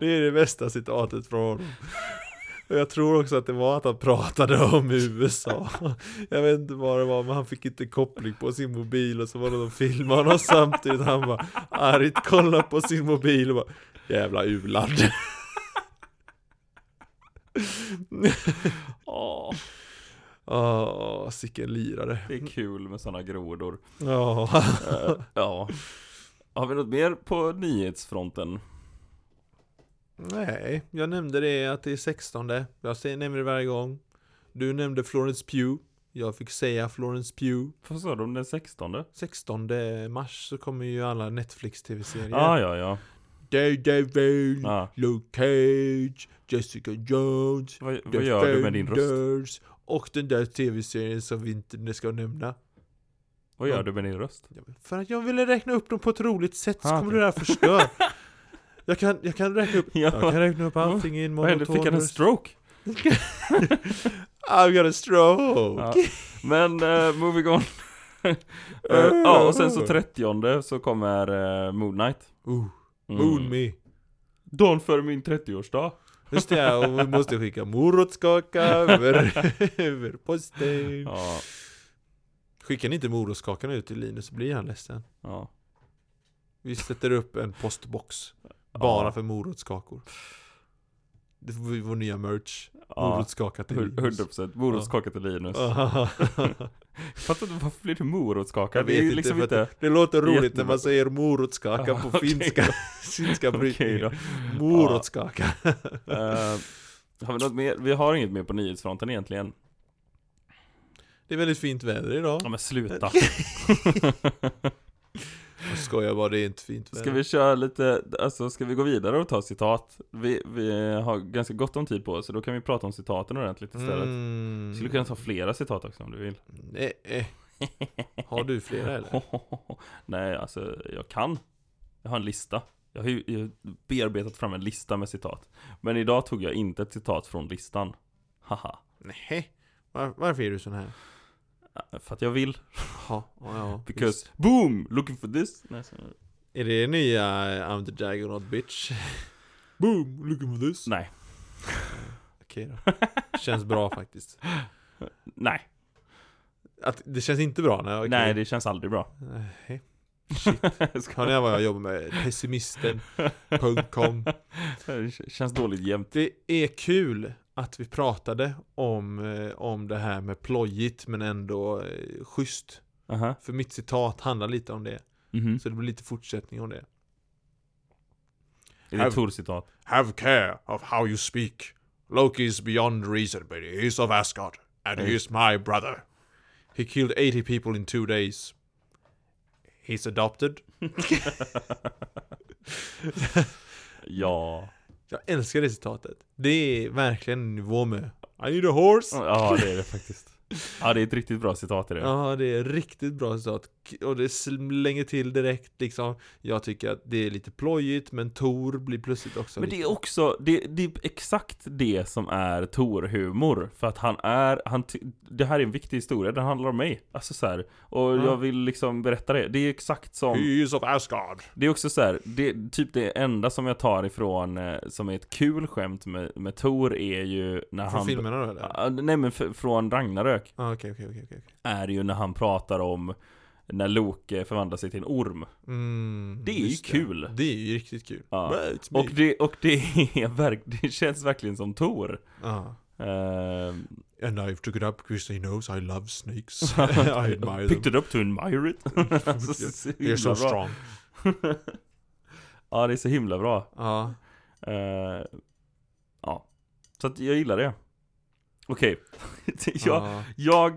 [SPEAKER 3] Det är det bästa citatet från honom. Och jag tror också att det var att han pratade om USA. Jag vet inte vad det var, men han fick inte koppling på sin mobil och så var det de filmade honom samtidigt. Han bara argt kollade på sin mobil och bara Jävla u-land.
[SPEAKER 2] Åh,
[SPEAKER 3] Åh, sicken lirare.
[SPEAKER 2] det är kul med sådana grodor.
[SPEAKER 3] Ja.
[SPEAKER 2] Eh, ja. Har vi något mer på nyhetsfronten?
[SPEAKER 3] Nej, jag nämnde det att det är 16. Jag säger- nämner det varje gång. Du nämnde Florence Pugh. Jag fick säga Florence Pugh.
[SPEAKER 2] Vad sa de den 16? Ah,
[SPEAKER 3] 16 mars så kommer ju alla Netflix-tv-serier.
[SPEAKER 2] Ah, ja, ja.
[SPEAKER 3] Daredevil,
[SPEAKER 2] Ah.
[SPEAKER 3] Luke Cage, Jessica Jones,
[SPEAKER 2] Vad, vad gör du med din röst?
[SPEAKER 3] Defenders och den där tv-serien som vi inte ska nämna.
[SPEAKER 2] Vad gör du med din röst?
[SPEAKER 3] Ja, men För att jag ville räkna upp dem på ett roligt sätt så
[SPEAKER 2] Ah,
[SPEAKER 3] kommer
[SPEAKER 2] okej.
[SPEAKER 3] det här förstöra. jag, kan, jag kan räkna upp
[SPEAKER 2] Ja,
[SPEAKER 3] Jag kan räkna upp allting i en
[SPEAKER 2] vad hände?
[SPEAKER 3] monoton
[SPEAKER 2] Fick han en
[SPEAKER 3] röst.
[SPEAKER 2] stroke?
[SPEAKER 3] I've got a stroke!
[SPEAKER 2] Ja. Men eh, moving on. Eh, ja, och sen så 30 så kommer eh, Moon Knight.
[SPEAKER 3] Uh,
[SPEAKER 2] Mm.
[SPEAKER 3] moon me!
[SPEAKER 2] Dagen före min 30-årsdag.
[SPEAKER 3] Just det, och vi måste skicka morotskaka över, över posten.
[SPEAKER 2] Ja,
[SPEAKER 3] Skickar ni inte morotskakan ut till Linus så blir han ledsen.
[SPEAKER 2] ja.
[SPEAKER 3] Vi sätter upp en postbox. Bara
[SPEAKER 2] Ja.
[SPEAKER 3] för morotskakor. Det får bli vår nya merch.
[SPEAKER 2] Ja,
[SPEAKER 3] Morotskaka till Linus.
[SPEAKER 2] 100% morotskaka till Linus. Fattar inte varför blir det morotskaka?
[SPEAKER 3] Jag
[SPEAKER 2] Det är
[SPEAKER 3] vet
[SPEAKER 2] ju
[SPEAKER 3] inte,
[SPEAKER 2] liksom
[SPEAKER 3] för att
[SPEAKER 2] inte...
[SPEAKER 3] det låter roligt när
[SPEAKER 2] Jättebra.
[SPEAKER 3] man säger morotskaka
[SPEAKER 2] Ah,
[SPEAKER 3] på
[SPEAKER 2] okej
[SPEAKER 3] finska, finska
[SPEAKER 2] Okej
[SPEAKER 3] brytningen.
[SPEAKER 2] då.
[SPEAKER 3] Morotskaka.
[SPEAKER 2] Eh, har vi något mer? Vi har inget mer på nyhetsfronten egentligen.
[SPEAKER 3] Det är väldigt fint väder idag.
[SPEAKER 2] Ja men sluta.
[SPEAKER 3] Jag skojar bara, det är inte fint väder.
[SPEAKER 2] Ska vi köra lite, alltså ska vi gå vidare och ta citat? Vi, vi har ganska gott om tid på oss, så då kan vi prata om citaten ordentligt istället.
[SPEAKER 3] Mm.
[SPEAKER 2] Skulle kunna ta flera citat också om du vill.
[SPEAKER 3] Nej. Har du flera eller?
[SPEAKER 2] Nej, alltså jag kan. Jag har en lista. Jag har ju jag har bearbetat fram en lista med citat. Men idag tog jag inte ett citat från listan. Haha.
[SPEAKER 3] Nej. Var, varför är du sån här?
[SPEAKER 2] För att jag vill.
[SPEAKER 3] Ja, ja, ja.
[SPEAKER 2] Because,
[SPEAKER 3] visst.
[SPEAKER 2] boom! Looking for this. Nej, så-
[SPEAKER 3] Är det nya eh, I'm the Jaggernaut bitch? Boom, looking for this.
[SPEAKER 2] Nej.
[SPEAKER 3] Eh, Okej då. Känns bra faktiskt.
[SPEAKER 2] Nej.
[SPEAKER 3] Att, det känns inte bra? Nej, okej.
[SPEAKER 2] Nej, det känns aldrig bra.
[SPEAKER 3] Nej.
[SPEAKER 2] Ska-
[SPEAKER 3] Hör ni vad jag jobbar med? Pessimisten.com
[SPEAKER 2] Det känns dåligt jämt.
[SPEAKER 3] Det är kul att vi pratade om, eh, om det här med plojigt men ändå eh, schysst.
[SPEAKER 2] Aha.
[SPEAKER 3] För mitt citat handlar lite om det.
[SPEAKER 2] Mhm.
[SPEAKER 3] Så det blir lite fortsättning om det.
[SPEAKER 2] Är det ett Tor-citat?
[SPEAKER 3] Have care of how you speak. Loki is beyond reason, but he is of Asgard. And he is my brother. He killed 80 people in two days. He's adopted.
[SPEAKER 2] Ja.
[SPEAKER 3] Jag älskar det citatet. Det är verkligen en nivå med I need a horse.
[SPEAKER 2] Ja, det är det faktiskt. Ja, det är ett riktigt bra citat i det.
[SPEAKER 3] Ja, det är riktigt bra citat. K- Och det slänger till direkt liksom. Jag tycker att det är lite plojigt, men Tor blir plötsligt också
[SPEAKER 2] Men det
[SPEAKER 3] lite-
[SPEAKER 2] är också, det, det är exakt det som är Tor-humor. För att han är, han ty- det här är en viktig historia, den handlar om mig. Alltså så här, och
[SPEAKER 3] Ja.
[SPEAKER 2] jag vill liksom berätta det. Det är exakt som,
[SPEAKER 3] He is of Asgard.
[SPEAKER 2] det är också så här, det är typ det enda som jag tar ifrån, eh, som är ett kul skämt med, med Tor är ju när
[SPEAKER 3] Från
[SPEAKER 2] han...
[SPEAKER 3] filmerna då eller?
[SPEAKER 2] Ja, nej men f- från Ragnarök
[SPEAKER 3] Ah, okej, okej, okej, okej. okej.
[SPEAKER 2] är ju när han pratar om när Loke förvandlar sig till en orm.
[SPEAKER 3] Mm,
[SPEAKER 2] Det är ju
[SPEAKER 3] just
[SPEAKER 2] kul.
[SPEAKER 3] Det. är ju riktigt kul.
[SPEAKER 2] Ja.
[SPEAKER 3] Well, it's me.
[SPEAKER 2] Och det, och det, är verk, det känns verkligen som Tor.
[SPEAKER 3] Ja.
[SPEAKER 2] Ehm,
[SPEAKER 3] And I've took it up because he knows I love snakes. I admire
[SPEAKER 2] Picked
[SPEAKER 3] them.
[SPEAKER 2] it up to admire it. alltså, så
[SPEAKER 3] They're
[SPEAKER 2] himla
[SPEAKER 3] so
[SPEAKER 2] bra.
[SPEAKER 3] strong.
[SPEAKER 2] ja, det är så himla bra.
[SPEAKER 3] Ja.
[SPEAKER 2] Eh, Ja. Så att jag gillar det. Okej. jag jag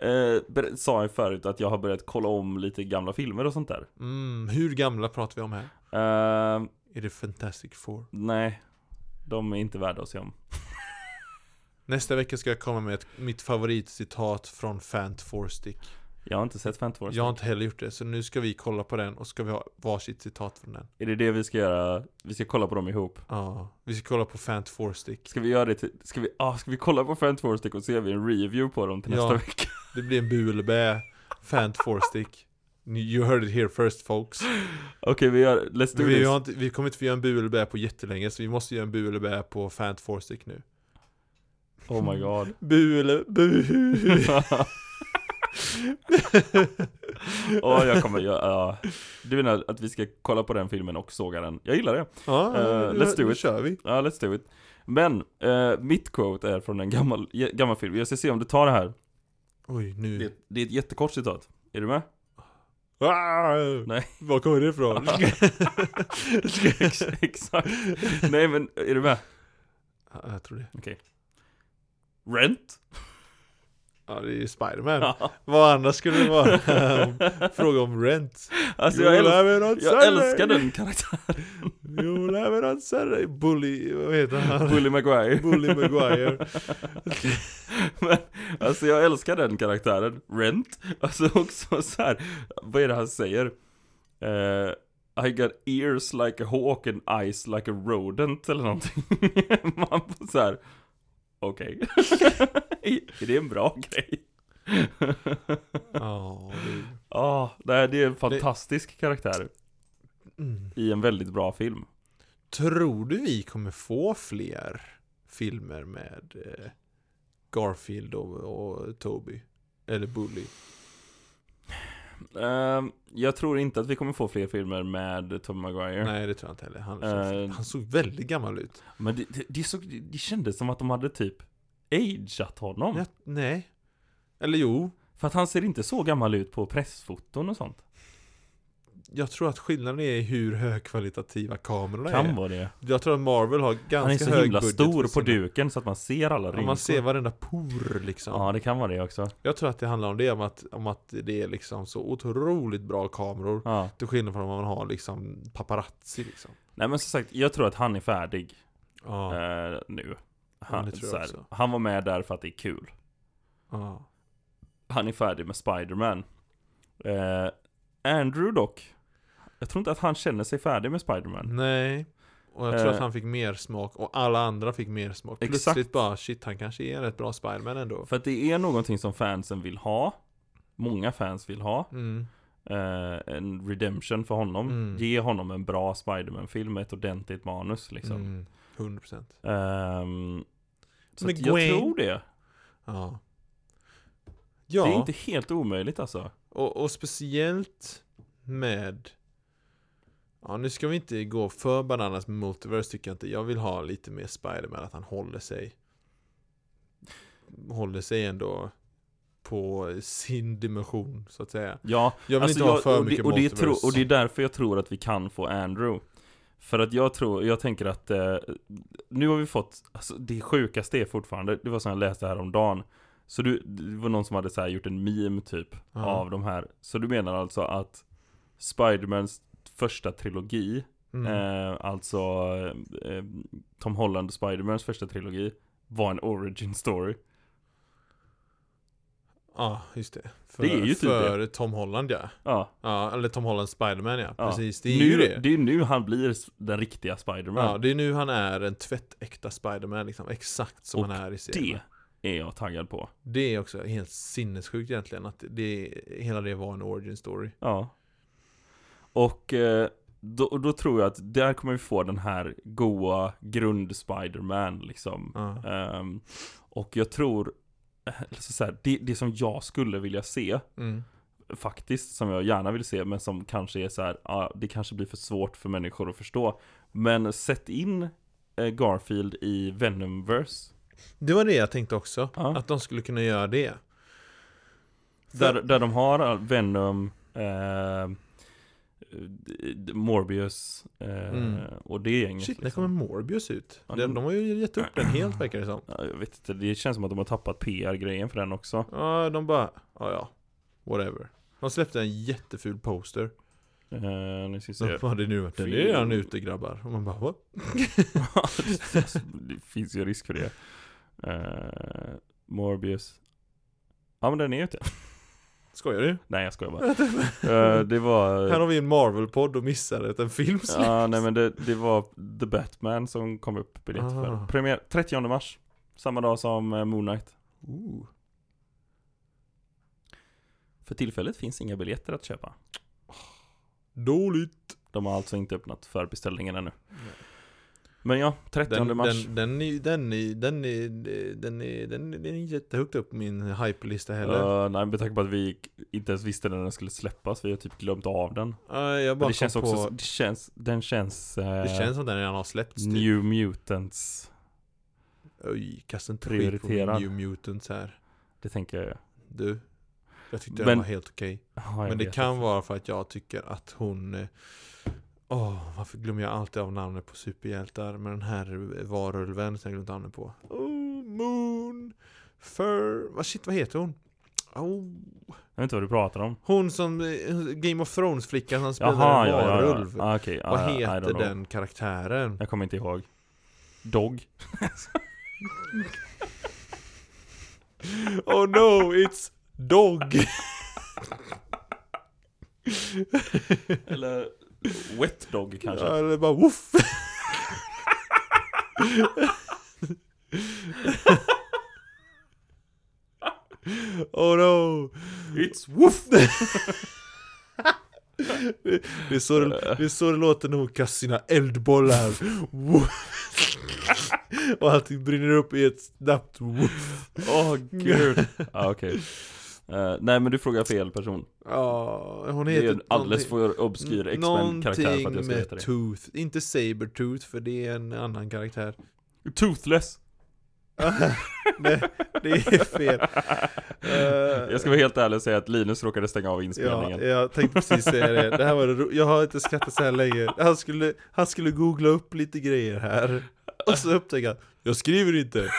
[SPEAKER 2] eh, ber- sa ju förut att jag har börjat kolla om lite gamla filmer och sånt där.
[SPEAKER 3] Mm, hur gamla pratar vi om här?
[SPEAKER 2] Eh,
[SPEAKER 3] Är det Fantastic Four?
[SPEAKER 2] nej. De är inte värda att se om.
[SPEAKER 3] Nästa vecka ska jag komma med ett, mitt favoritcitat från Fant Fourstick.
[SPEAKER 2] Jag har inte sett Fantastic
[SPEAKER 3] Jag har inte heller gjort det, så nu ska vi kolla på den och ska vi ha varsitt citat från den.
[SPEAKER 2] Är det det vi ska göra? Vi ska kolla på dem ihop.
[SPEAKER 3] Ja, vi ska kolla på Fant Fourstick.
[SPEAKER 2] Ska vi göra det till, ska vi, ah, ska vi kolla på Fantastic och se vi en review på dem till
[SPEAKER 3] Ja.
[SPEAKER 2] nästa vecka?
[SPEAKER 3] Det blir en bu eller bä. Fant Fourstick. You heard it here first folks.
[SPEAKER 2] Okej vi gör, let's do
[SPEAKER 3] Vi,
[SPEAKER 2] this.
[SPEAKER 3] har inte, vi kommer inte få göra en bu eller bä på jättelänge, så vi måste göra en bu eller bä på Fant Fourstick nu.
[SPEAKER 2] Oh my god.
[SPEAKER 3] Bu eller bu.
[SPEAKER 2] Åh, jag kommer göra, ja. Du menar att vi ska kolla på den filmen och såga den? Jag gillar det.
[SPEAKER 3] Ja,
[SPEAKER 2] Eh,
[SPEAKER 3] nu-
[SPEAKER 2] let's do
[SPEAKER 3] nu
[SPEAKER 2] it.
[SPEAKER 3] kör vi.
[SPEAKER 2] Ja, let's do it. Men, eh, mitt quote är från en gammal, ge- gammal film. Jag ska se om du tar det här.
[SPEAKER 3] Mm. Oj, nu.
[SPEAKER 2] Det, det är ett jättekort citat. Är du med?
[SPEAKER 3] Ah,
[SPEAKER 2] Nej.
[SPEAKER 3] Var kommer det ifrån?
[SPEAKER 2] Ex- Exakt. Nej men, är du med?
[SPEAKER 3] Ja, jag tror det.
[SPEAKER 2] Rent?
[SPEAKER 3] Ja, det är ju Spiderman.
[SPEAKER 2] Ja.
[SPEAKER 3] Vad annars skulle det vara? Fråga om rent.
[SPEAKER 2] Alltså
[SPEAKER 3] You'll
[SPEAKER 2] jag, äl-
[SPEAKER 3] have it on
[SPEAKER 2] jag
[SPEAKER 3] Saturday.
[SPEAKER 2] älskar den karaktären.
[SPEAKER 3] You'll have it on Saturday. Bully, vad heter han?
[SPEAKER 2] Bully Maguire.
[SPEAKER 3] Bully Maguire.
[SPEAKER 2] Men, alltså jag älskar den karaktären, Rent. Alltså också så här. vad är det han säger? Eh, I got ears like a hawk and eyes like a rodent eller någonting. Man får så här. okej. är det en bra grej?
[SPEAKER 3] Ja, det-
[SPEAKER 2] Ja, Ah, nej, det är en fantastisk karaktär
[SPEAKER 3] mm.
[SPEAKER 2] i en väldigt bra film.
[SPEAKER 3] Tror du vi kommer få fler filmer med eh, Garfield och, och Toby? Eller Bully?
[SPEAKER 2] Ehm, jag tror inte att vi kommer få fler filmer med Tom Maguire.
[SPEAKER 3] Nej, det tror jag inte heller. Han,
[SPEAKER 2] Eh.
[SPEAKER 3] han såg väldigt gammal ut.
[SPEAKER 2] Men det, det, det, såg, det, det kändes som att de hade typ ageat honom.
[SPEAKER 3] Jag, nej. Eller jo,
[SPEAKER 2] För att han ser inte så gammal ut på pressfoton och sånt.
[SPEAKER 3] jag tror att skillnaden är hur högkvalitativa kamerorna
[SPEAKER 2] Kan
[SPEAKER 3] är.
[SPEAKER 2] vara det.
[SPEAKER 3] Jag tror att Marvel har ganska
[SPEAKER 2] Han är så
[SPEAKER 3] hög
[SPEAKER 2] himla
[SPEAKER 3] budget
[SPEAKER 2] stor
[SPEAKER 3] för
[SPEAKER 2] på
[SPEAKER 3] sina-
[SPEAKER 2] duken så att man ser alla
[SPEAKER 3] Ja,
[SPEAKER 2] rynkor.
[SPEAKER 3] man ser varenda por liksom.
[SPEAKER 2] Ja, det kan vara det också.
[SPEAKER 3] Jag tror att det handlar om det, om att, om att det är liksom så otroligt bra kameror.
[SPEAKER 2] Ja.
[SPEAKER 3] Till skillnad från om man har liksom paparazzi liksom.
[SPEAKER 2] Nej men som sagt, jag tror att han är färdig
[SPEAKER 3] Ja,
[SPEAKER 2] eh, nu. Han,
[SPEAKER 3] det tror jag
[SPEAKER 2] så här,
[SPEAKER 3] också.
[SPEAKER 2] han var med där för att det är kul.
[SPEAKER 3] ja.
[SPEAKER 2] Han är färdig med Spider-Man. Eh, Andrew dock. Jag tror inte att han känner sig färdig med Spider-Man.
[SPEAKER 3] Nej. Och jag tror
[SPEAKER 2] Eh.
[SPEAKER 3] att han fick mer smak och alla andra fick mer smak.
[SPEAKER 2] Exakt.
[SPEAKER 3] Plötsligt bara shit, han kanske är en rätt bra Spiderman ändå.
[SPEAKER 2] För att det är någonting som fansen vill ha. Många fans vill ha.
[SPEAKER 3] Mm.
[SPEAKER 2] eh, en redemption för honom.
[SPEAKER 3] Mm.
[SPEAKER 2] Ge honom en bra Spiderman-film med ett ordentligt manus liksom.
[SPEAKER 3] Mm. 100%.
[SPEAKER 2] Ehm, så
[SPEAKER 3] Men
[SPEAKER 2] att jag
[SPEAKER 3] Gwen-
[SPEAKER 2] tror det.
[SPEAKER 3] Ja. Ja.
[SPEAKER 2] Mm. Det är inte helt omöjligt alltså.
[SPEAKER 3] Och, och speciellt med Ja nu ska vi inte gå för bananas med multiverse tycker jag inte Jag vill ha lite mer Spider-Man att han håller sig Håller sig ändå På sin dimension så att säga
[SPEAKER 2] Ja,
[SPEAKER 3] Jag vill
[SPEAKER 2] alltså
[SPEAKER 3] inte ha för
[SPEAKER 2] och det,
[SPEAKER 3] mycket
[SPEAKER 2] och, det är tro,
[SPEAKER 3] multiverse
[SPEAKER 2] och det är därför jag tror att vi kan få Andrew. För att jag tror, jag tänker att eh, nu har vi fått, alltså det sjukaste är fortfarande, det var som jag läste häromdagen. Så du, det var någon som hade så här gjort en meme typ
[SPEAKER 3] Ja.
[SPEAKER 2] av de här. Så du menar alltså att Spidermans första trilogi
[SPEAKER 3] mm.
[SPEAKER 2] Eh, alltså eh, Tom Holland och Spidermans första trilogi var en origin story.
[SPEAKER 3] Ja just det För,
[SPEAKER 2] det är ju typ
[SPEAKER 3] för Tom Holland ja.
[SPEAKER 2] Ja,
[SPEAKER 3] ja Eller Tom Holland Spider-Man ja,
[SPEAKER 2] ja.
[SPEAKER 3] precis Det är
[SPEAKER 2] nu,
[SPEAKER 3] ju det
[SPEAKER 2] är nu han blir s- den riktiga Spiderman.
[SPEAKER 3] Ja, det är nu han är en tvättäkta Spider-Man liksom, exakt som
[SPEAKER 2] Och
[SPEAKER 3] han är i serien
[SPEAKER 2] det är jag taggad på.
[SPEAKER 3] Det är också helt sinnessjukt egentligen att det, hela det var en origin story.
[SPEAKER 2] Ja. Och eh, då, och då tror jag att där kommer vi få den här goa grund-Spiderman liksom.
[SPEAKER 3] Ja.
[SPEAKER 2] Ehm, och jag tror, alltså så här, det, det som jag skulle vilja se
[SPEAKER 3] Mm.
[SPEAKER 2] faktiskt som jag gärna vill se men som kanske är så här, ja, det kanske blir för svårt för människor att förstå. Men sätt in eh, Garfield i Venomverse.
[SPEAKER 3] Det var det jag tänkte också,
[SPEAKER 2] Ja.
[SPEAKER 3] att de skulle kunna göra det.
[SPEAKER 2] Där, där de har all- Venom, eh, eh, Morbius eh,
[SPEAKER 3] Mm.
[SPEAKER 2] och det gänget.
[SPEAKER 3] Shit, när
[SPEAKER 2] liksom.
[SPEAKER 3] kommer Morbius ut?
[SPEAKER 2] Ja,
[SPEAKER 3] De,
[SPEAKER 2] den-
[SPEAKER 3] de har ju gett upp den helt verkar det som.
[SPEAKER 2] Ja, jag vet inte, det känns som att de har tappat PR-grejen för den också.
[SPEAKER 3] Ja, de bara, ja ja, whatever. De släppte en jätteful poster.
[SPEAKER 2] Eh, nu ska vi
[SPEAKER 3] De
[SPEAKER 2] se.
[SPEAKER 3] bara, det är nu vart den är redan ute grabbar. Och man bara, va?
[SPEAKER 2] det finns ju risk för det. Eh, Morbius. Ja men den är ute.
[SPEAKER 3] Skojar du?
[SPEAKER 2] Nej jag skojar bara. Eh, det var...
[SPEAKER 3] Här har vi en Marvel-podd och missade att en film släpps.
[SPEAKER 2] Ja, nej men det, det var The Batman som kom upp biljett
[SPEAKER 3] Ah.
[SPEAKER 2] för. Premiär 30 mars. Samma dag som eh, Moon Knight.
[SPEAKER 3] Ooh.
[SPEAKER 2] För tillfället finns inga biljetter att köpa.
[SPEAKER 3] Dåligt.
[SPEAKER 2] De har alltså inte öppnat för beställningen ännu. Men ja, 30
[SPEAKER 3] Den, den,
[SPEAKER 2] mars.
[SPEAKER 3] den, den, är- den, är- den, är- den, är- den, är- den är jättehögt upp på min hype-lista heller.
[SPEAKER 2] Eh, nej, med tanke på att vi inte ens visste när den skulle släppas. Vi har typ glömt av den.
[SPEAKER 3] Ja, jag bara
[SPEAKER 2] Men det känns
[SPEAKER 3] kom
[SPEAKER 2] också,
[SPEAKER 3] på,
[SPEAKER 2] det känns, den känns... eh,
[SPEAKER 3] det känns som den redan har släppts typ.
[SPEAKER 2] New Mutants.
[SPEAKER 3] Oj, kasta inte skit på min
[SPEAKER 2] Prioriterad.
[SPEAKER 3] New Mutants här.
[SPEAKER 2] Det tänker jag.
[SPEAKER 3] Du. Jag tyckte den
[SPEAKER 2] Men-
[SPEAKER 3] var helt okej.
[SPEAKER 2] Ja, jag
[SPEAKER 3] Men det
[SPEAKER 2] vet.
[SPEAKER 3] kan vara för att jag tycker att hon eh, Åh, varför glömmer jag alltid av namnet på superhjältar? Men den här varulven som jag glömt namnet på. Oh, Moon Fur... Vad shit, vad heter hon? Oh.
[SPEAKER 2] Jag vet inte vad du pratar om.
[SPEAKER 3] Hon som... eh, Game of Thrones-flickan som spelar
[SPEAKER 2] Jaha,
[SPEAKER 3] en
[SPEAKER 2] ja, ja, ja.
[SPEAKER 3] varulv.
[SPEAKER 2] Ah, okej.
[SPEAKER 3] Vad
[SPEAKER 2] Ah, I don't
[SPEAKER 3] heter
[SPEAKER 2] know.
[SPEAKER 3] den karaktären?
[SPEAKER 2] Jag kommer inte ihåg. Dog.
[SPEAKER 3] Oh no, it's Dog!
[SPEAKER 2] Eller Wet Dog kanske.
[SPEAKER 3] Ja, eller bara woof! oh no!
[SPEAKER 2] It's woof!
[SPEAKER 3] Det, det, är så det,
[SPEAKER 2] Eh.
[SPEAKER 3] det är så det låter när hon kastar sina eldbollar. Woof. Och allting brinner upp i ett snabbt woof.
[SPEAKER 2] Åh gud. Ja okej. Eh, nej men du frågar fel person.
[SPEAKER 3] Ja, hon
[SPEAKER 2] Det
[SPEAKER 3] heter
[SPEAKER 2] är en alldeles
[SPEAKER 3] någonting-
[SPEAKER 2] för obskyr X-Men karaktär för att
[SPEAKER 3] Någonting
[SPEAKER 2] jag ska
[SPEAKER 3] med
[SPEAKER 2] veta det.
[SPEAKER 3] Tooth. Inte Sabertooth för det är en annan karaktär.
[SPEAKER 2] Toothless!
[SPEAKER 3] Nej, det är fel. Eh,
[SPEAKER 2] Jag ska vara helt ärlig och säga att Linus råkade stänga av
[SPEAKER 3] Ja,
[SPEAKER 2] inspelningen.
[SPEAKER 3] jag tänkte precis säga det. det här var det ro- jag har inte skrattat så här länge. Han skulle, han skulle googla upp lite grejer här. Och så upptäckte han, jag skriver inte.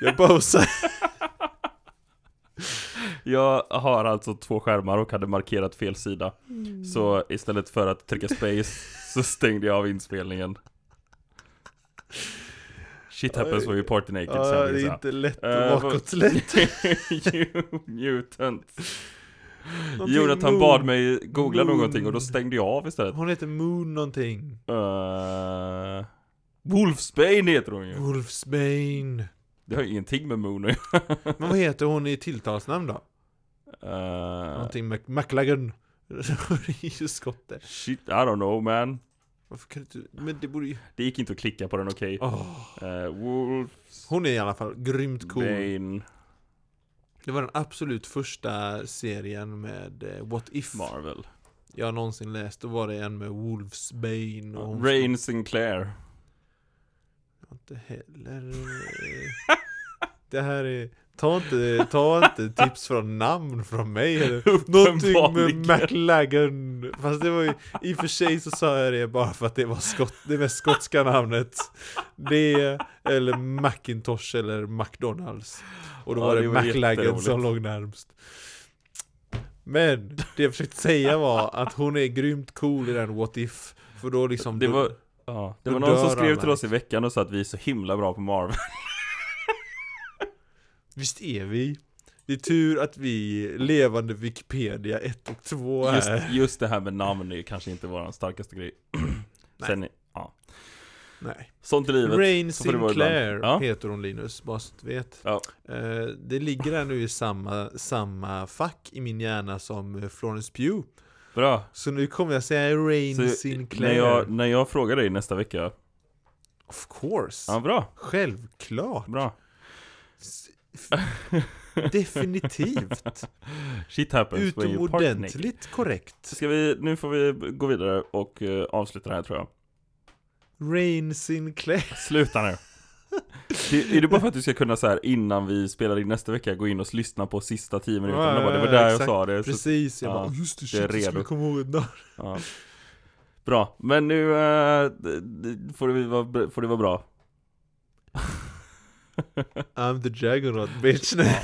[SPEAKER 3] Jag pausar.
[SPEAKER 2] Jag har alltså två skärmar och hade markerat fel sida.
[SPEAKER 3] Mm.
[SPEAKER 2] Så istället för att trycka space så stängde jag av inspelningen. Shit happens when we party naked,
[SPEAKER 3] Ja,
[SPEAKER 2] sa
[SPEAKER 3] det
[SPEAKER 2] Lisa.
[SPEAKER 3] är inte lätt
[SPEAKER 2] Eh,
[SPEAKER 3] och
[SPEAKER 2] vad-
[SPEAKER 3] bakåtlätt.
[SPEAKER 2] New Mutants.
[SPEAKER 3] Någonting
[SPEAKER 2] Jonathan
[SPEAKER 3] Moon.
[SPEAKER 2] bad mig googla
[SPEAKER 3] Moon.
[SPEAKER 2] någonting och då stängde jag av istället.
[SPEAKER 3] Hon heter Moon någonting.
[SPEAKER 2] Uh, Wolfsbane heter hon ju.
[SPEAKER 3] Wolfsbane.
[SPEAKER 2] Det har ju ingenting med Moon att
[SPEAKER 3] Men vad heter hon i tilltalsnamn då?
[SPEAKER 2] göra. Eh,
[SPEAKER 3] Någonting Mac- McLagan. Det är ju skotte.
[SPEAKER 2] Shit, I don't know man.
[SPEAKER 3] Varför kan du inte- Men det borde ju...
[SPEAKER 2] Det gick inte att klicka på den, okej.
[SPEAKER 3] Åh.
[SPEAKER 2] Eh, Wolfsbane.
[SPEAKER 3] Hon är i alla fall grymt cool. Det var den absolut första serien med eh, What If
[SPEAKER 2] Marvel.
[SPEAKER 3] jag någonsin läst. Då var det en med Wolfsbane och hon
[SPEAKER 2] Rain Sinclair.
[SPEAKER 3] Jag har Inte heller... eh, Det här är... Ta inte, ta inte tips från namn från mig eller Någonting med
[SPEAKER 2] Uppenbarligen.
[SPEAKER 3] McLagan Fast det var ju, i och för sig så sa jag det bara för att det var skott, det mest skotska namnet Det, eller Macintosh eller McDonalds Och då
[SPEAKER 2] Ja,
[SPEAKER 3] var det,
[SPEAKER 2] det var
[SPEAKER 3] McLagan som
[SPEAKER 2] jätteroligt.
[SPEAKER 3] låg närmst Men, det jag försökte säga var att hon är grymt cool i den What If För då liksom
[SPEAKER 2] Det var, ja, det
[SPEAKER 3] då
[SPEAKER 2] var någon som
[SPEAKER 3] dör
[SPEAKER 2] skrev
[SPEAKER 3] alla.
[SPEAKER 2] till oss i veckan och sa att vi är så himla bra på Marvel.
[SPEAKER 3] Visst är vi? Det är tur att vi är levande Wikipedia 1 och 2
[SPEAKER 2] Just,
[SPEAKER 3] här.
[SPEAKER 2] just det här med namn är ju kanske inte vår starkaste grej. Sen, ja.
[SPEAKER 3] Nej.
[SPEAKER 2] Sånt i livet.
[SPEAKER 3] Rain
[SPEAKER 2] så får det vara ibland.
[SPEAKER 3] Sinclair
[SPEAKER 2] Ja.
[SPEAKER 3] heter hon Linus, bara så att du vet.
[SPEAKER 2] Ja.
[SPEAKER 3] Eh, det ligger där nu i samma, samma fack i min hjärna som eh, Florence Pugh.
[SPEAKER 2] Bra.
[SPEAKER 3] Så nu kommer jag säga Rain
[SPEAKER 2] Så,
[SPEAKER 3] Sinclair.
[SPEAKER 2] när, jag, när jag frågar dig nästa vecka.
[SPEAKER 3] Of course.
[SPEAKER 2] Ja, bra.
[SPEAKER 3] Självklart.
[SPEAKER 2] Bra.
[SPEAKER 3] S- f- Definitivt.
[SPEAKER 2] Shit happens when you part Nick.
[SPEAKER 3] Utomordentligt korrekt.
[SPEAKER 2] Ska vi, nu får vi gå vidare och eh, avsluta det här tror jag.
[SPEAKER 3] Rain Sinclair.
[SPEAKER 2] Sluta nu. Det, är det bara för att du ska kunna så här innan vi spelar in nästa vecka gå in och lyssna på sista tio minuterna?
[SPEAKER 3] Ja,
[SPEAKER 2] bara, det var
[SPEAKER 3] ja,
[SPEAKER 2] där jag
[SPEAKER 3] exakt.
[SPEAKER 2] sa det. Så,
[SPEAKER 3] Precis, jag
[SPEAKER 2] ja,
[SPEAKER 3] bara just det,
[SPEAKER 2] det är
[SPEAKER 3] shit, jag
[SPEAKER 2] redo.
[SPEAKER 3] skulle komma ihåg det.
[SPEAKER 2] ja. Bra, men nu eh, d- d- får, det vara, får det vara bra.
[SPEAKER 3] I'm the Dragonrod bitch. Nej.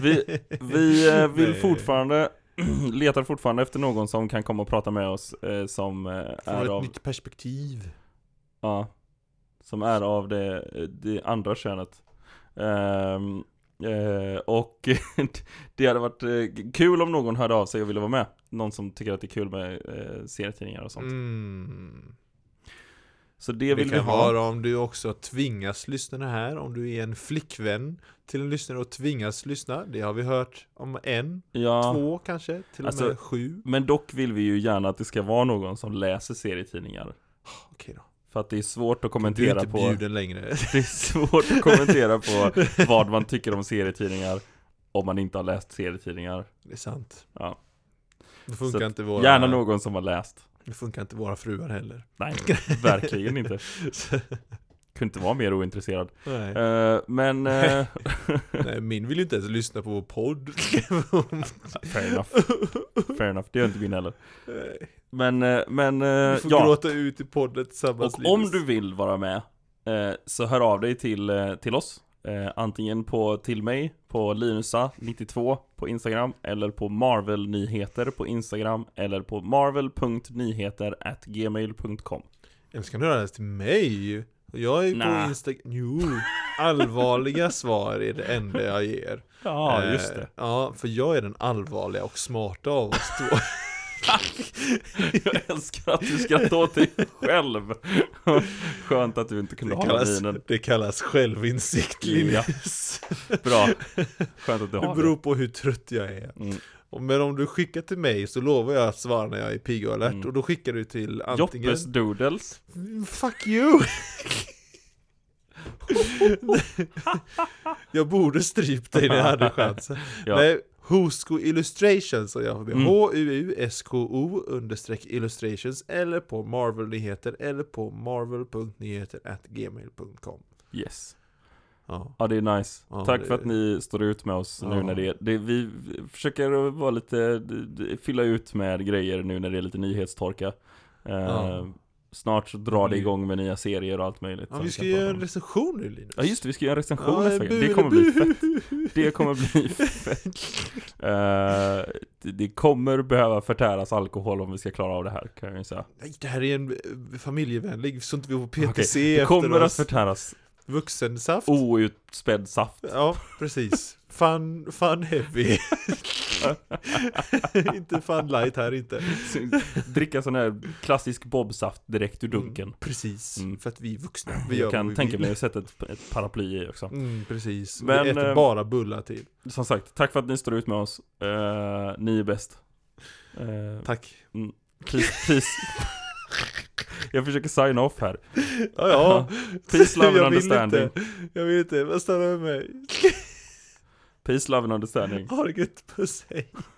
[SPEAKER 2] Vi, vi eh, vill
[SPEAKER 3] Nej.
[SPEAKER 2] fortfarande, letar fortfarande efter någon som kan komma och prata med oss eh, som eh, är
[SPEAKER 3] Från ett
[SPEAKER 2] av,
[SPEAKER 3] nytt perspektiv.
[SPEAKER 2] ja, som är av det, det andra könet. Ehm, eh, och det hade varit eh, kul om någon hörde av sig och ville vara med. Någon som tycker att det är kul med eh, serietidningar och sånt.
[SPEAKER 3] Mm.
[SPEAKER 2] Så det
[SPEAKER 3] Det
[SPEAKER 2] vill vi
[SPEAKER 3] kan
[SPEAKER 2] ha.
[SPEAKER 3] vara om du också tvingas lyssna här, om du är en flickvän till en lyssnare och tvingas lyssna. Det har vi hört om en,
[SPEAKER 2] Ja.
[SPEAKER 3] två kanske, till
[SPEAKER 2] Alltså-
[SPEAKER 3] och med sju.
[SPEAKER 2] Men dock vill vi ju gärna att det ska vara någon som läser serietidningar.
[SPEAKER 3] Okej då.
[SPEAKER 2] För att det är svårt att
[SPEAKER 3] Du är
[SPEAKER 2] kommentera
[SPEAKER 3] inte
[SPEAKER 2] på...
[SPEAKER 3] bjuden längre.
[SPEAKER 2] Det är svårt att kommentera på vad man tycker om serietidningar om man inte har läst serietidningar.
[SPEAKER 3] Det är sant.
[SPEAKER 2] Ja.
[SPEAKER 3] Det funkar,
[SPEAKER 2] Så
[SPEAKER 3] inte våra,
[SPEAKER 2] Gärna någon som har läst.
[SPEAKER 3] det funkar inte våra fruar heller.
[SPEAKER 2] Nej, verkligen inte.
[SPEAKER 3] Så-
[SPEAKER 2] Kunde inte vara mer ointresserad.
[SPEAKER 3] Nej.
[SPEAKER 2] Eh, men... eh,
[SPEAKER 3] Nej, min vill ju inte ens lyssna på vår podd.
[SPEAKER 2] fair enough. Fair enough, det gör inte min heller. Men, eh, men eh,
[SPEAKER 3] Vi får
[SPEAKER 2] ja.
[SPEAKER 3] gråta ut i podden tillsammans
[SPEAKER 2] Och
[SPEAKER 3] Linus.
[SPEAKER 2] om du vill vara med eh, så hör av dig till, eh, till oss. Eh, antingen på, till mig på linusa92 på Instagram eller på marvelnyheter på Instagram eller på marvel.nyheter@gmail.com.
[SPEAKER 3] Eller så kan du höra det till mig. Jag är
[SPEAKER 2] Nah.
[SPEAKER 3] på Instagram. Jo, allvarliga svar är det enda jag ger.
[SPEAKER 2] Ja,
[SPEAKER 3] Eh,
[SPEAKER 2] just det.
[SPEAKER 3] Ja, för jag är den allvarliga och smarta av oss två.
[SPEAKER 2] Jag älskar att du skrattar åt dig själv. Skönt att du inte kunde
[SPEAKER 3] Det
[SPEAKER 2] hålla
[SPEAKER 3] kallas,
[SPEAKER 2] minen.
[SPEAKER 3] det kallas självinsikt Linus.
[SPEAKER 2] Bra. Skönt att du
[SPEAKER 3] Det
[SPEAKER 2] har
[SPEAKER 3] beror
[SPEAKER 2] det.
[SPEAKER 3] på hur trött jag är.
[SPEAKER 2] Mm.
[SPEAKER 3] Och- Men om du skickar till mig så lovar jag att svara när jag är pigg och alert. Och då skickar du till antingen...
[SPEAKER 2] Mm. Joppes Doodles.
[SPEAKER 3] Mm, Fuck you! jag borde strypt dig när jag hade chansen.
[SPEAKER 2] Ja.
[SPEAKER 3] Nej, Husko Illustrations och jag med
[SPEAKER 2] Mm.
[SPEAKER 3] H-U-U-S-K-O understreck illustrations eller på Marvel Nyheter eller på marvel.nyheter.gmail.com
[SPEAKER 2] Yes.
[SPEAKER 3] Ja,
[SPEAKER 2] Ja det är nice.
[SPEAKER 3] Ja,
[SPEAKER 2] Tack
[SPEAKER 3] det-
[SPEAKER 2] för att ni står ut med oss nu
[SPEAKER 3] Ja.
[SPEAKER 2] när det är, det, vi försöker att vara lite, d- d- fylla ut med grejer nu när det är lite nyhetstorka. Eh,
[SPEAKER 3] Ja.
[SPEAKER 2] Snart så drar det
[SPEAKER 3] Vi-
[SPEAKER 2] igång med nya serier och allt möjligt.
[SPEAKER 3] ja
[SPEAKER 2] som
[SPEAKER 3] vi
[SPEAKER 2] vi
[SPEAKER 3] ska
[SPEAKER 2] kan
[SPEAKER 3] göra
[SPEAKER 2] prata
[SPEAKER 3] en
[SPEAKER 2] om.
[SPEAKER 3] recension nu Linus.
[SPEAKER 2] Ja just det, vi ska göra en recension
[SPEAKER 3] Ja,
[SPEAKER 2] nästa vecka. Det
[SPEAKER 3] bu-
[SPEAKER 2] kommer bli
[SPEAKER 3] bu-
[SPEAKER 2] fett. Det kommer bli fett. Eh, det- det kommer behöva förtäras alkohol om vi ska klara av det här kan jag ju säga.
[SPEAKER 3] Nej, det här är en eh, familjevänlig, så inte vi får PTC
[SPEAKER 2] Det kommer
[SPEAKER 3] efter
[SPEAKER 2] att
[SPEAKER 3] oss.
[SPEAKER 2] förtäras
[SPEAKER 3] Vuxensaft.
[SPEAKER 2] outspädd saft.
[SPEAKER 3] Ja, precis. Fun, fun heavy. inte fun light här inte. Mm,
[SPEAKER 2] Dricka sån här klassisk bobsaft direkt ur dunken.
[SPEAKER 3] Precis,
[SPEAKER 2] Mm.
[SPEAKER 3] för att vi är vuxna. Vi
[SPEAKER 2] Vi
[SPEAKER 3] Mm. gör
[SPEAKER 2] jag
[SPEAKER 3] vad
[SPEAKER 2] kan
[SPEAKER 3] vi
[SPEAKER 2] tänka
[SPEAKER 3] vill.
[SPEAKER 2] mig att sätta ett, ett paraply i också.
[SPEAKER 3] Mm, precis.
[SPEAKER 2] Men,
[SPEAKER 3] Men, vi äter
[SPEAKER 2] eh,
[SPEAKER 3] bara bullar till.
[SPEAKER 2] Som sagt, tack för att ni står ut med oss. Eh, ni är bäst. Uh,
[SPEAKER 3] Tack.
[SPEAKER 2] peace, peace. jag försöker sign off här.
[SPEAKER 3] Ja, ja.
[SPEAKER 2] Peace, love and
[SPEAKER 3] Jag vill
[SPEAKER 2] understanding.
[SPEAKER 3] Inte. Jag vill inte. Men stanna med mig.
[SPEAKER 2] Peace, love and understanding.
[SPEAKER 3] Ha det gött. Puss, hej.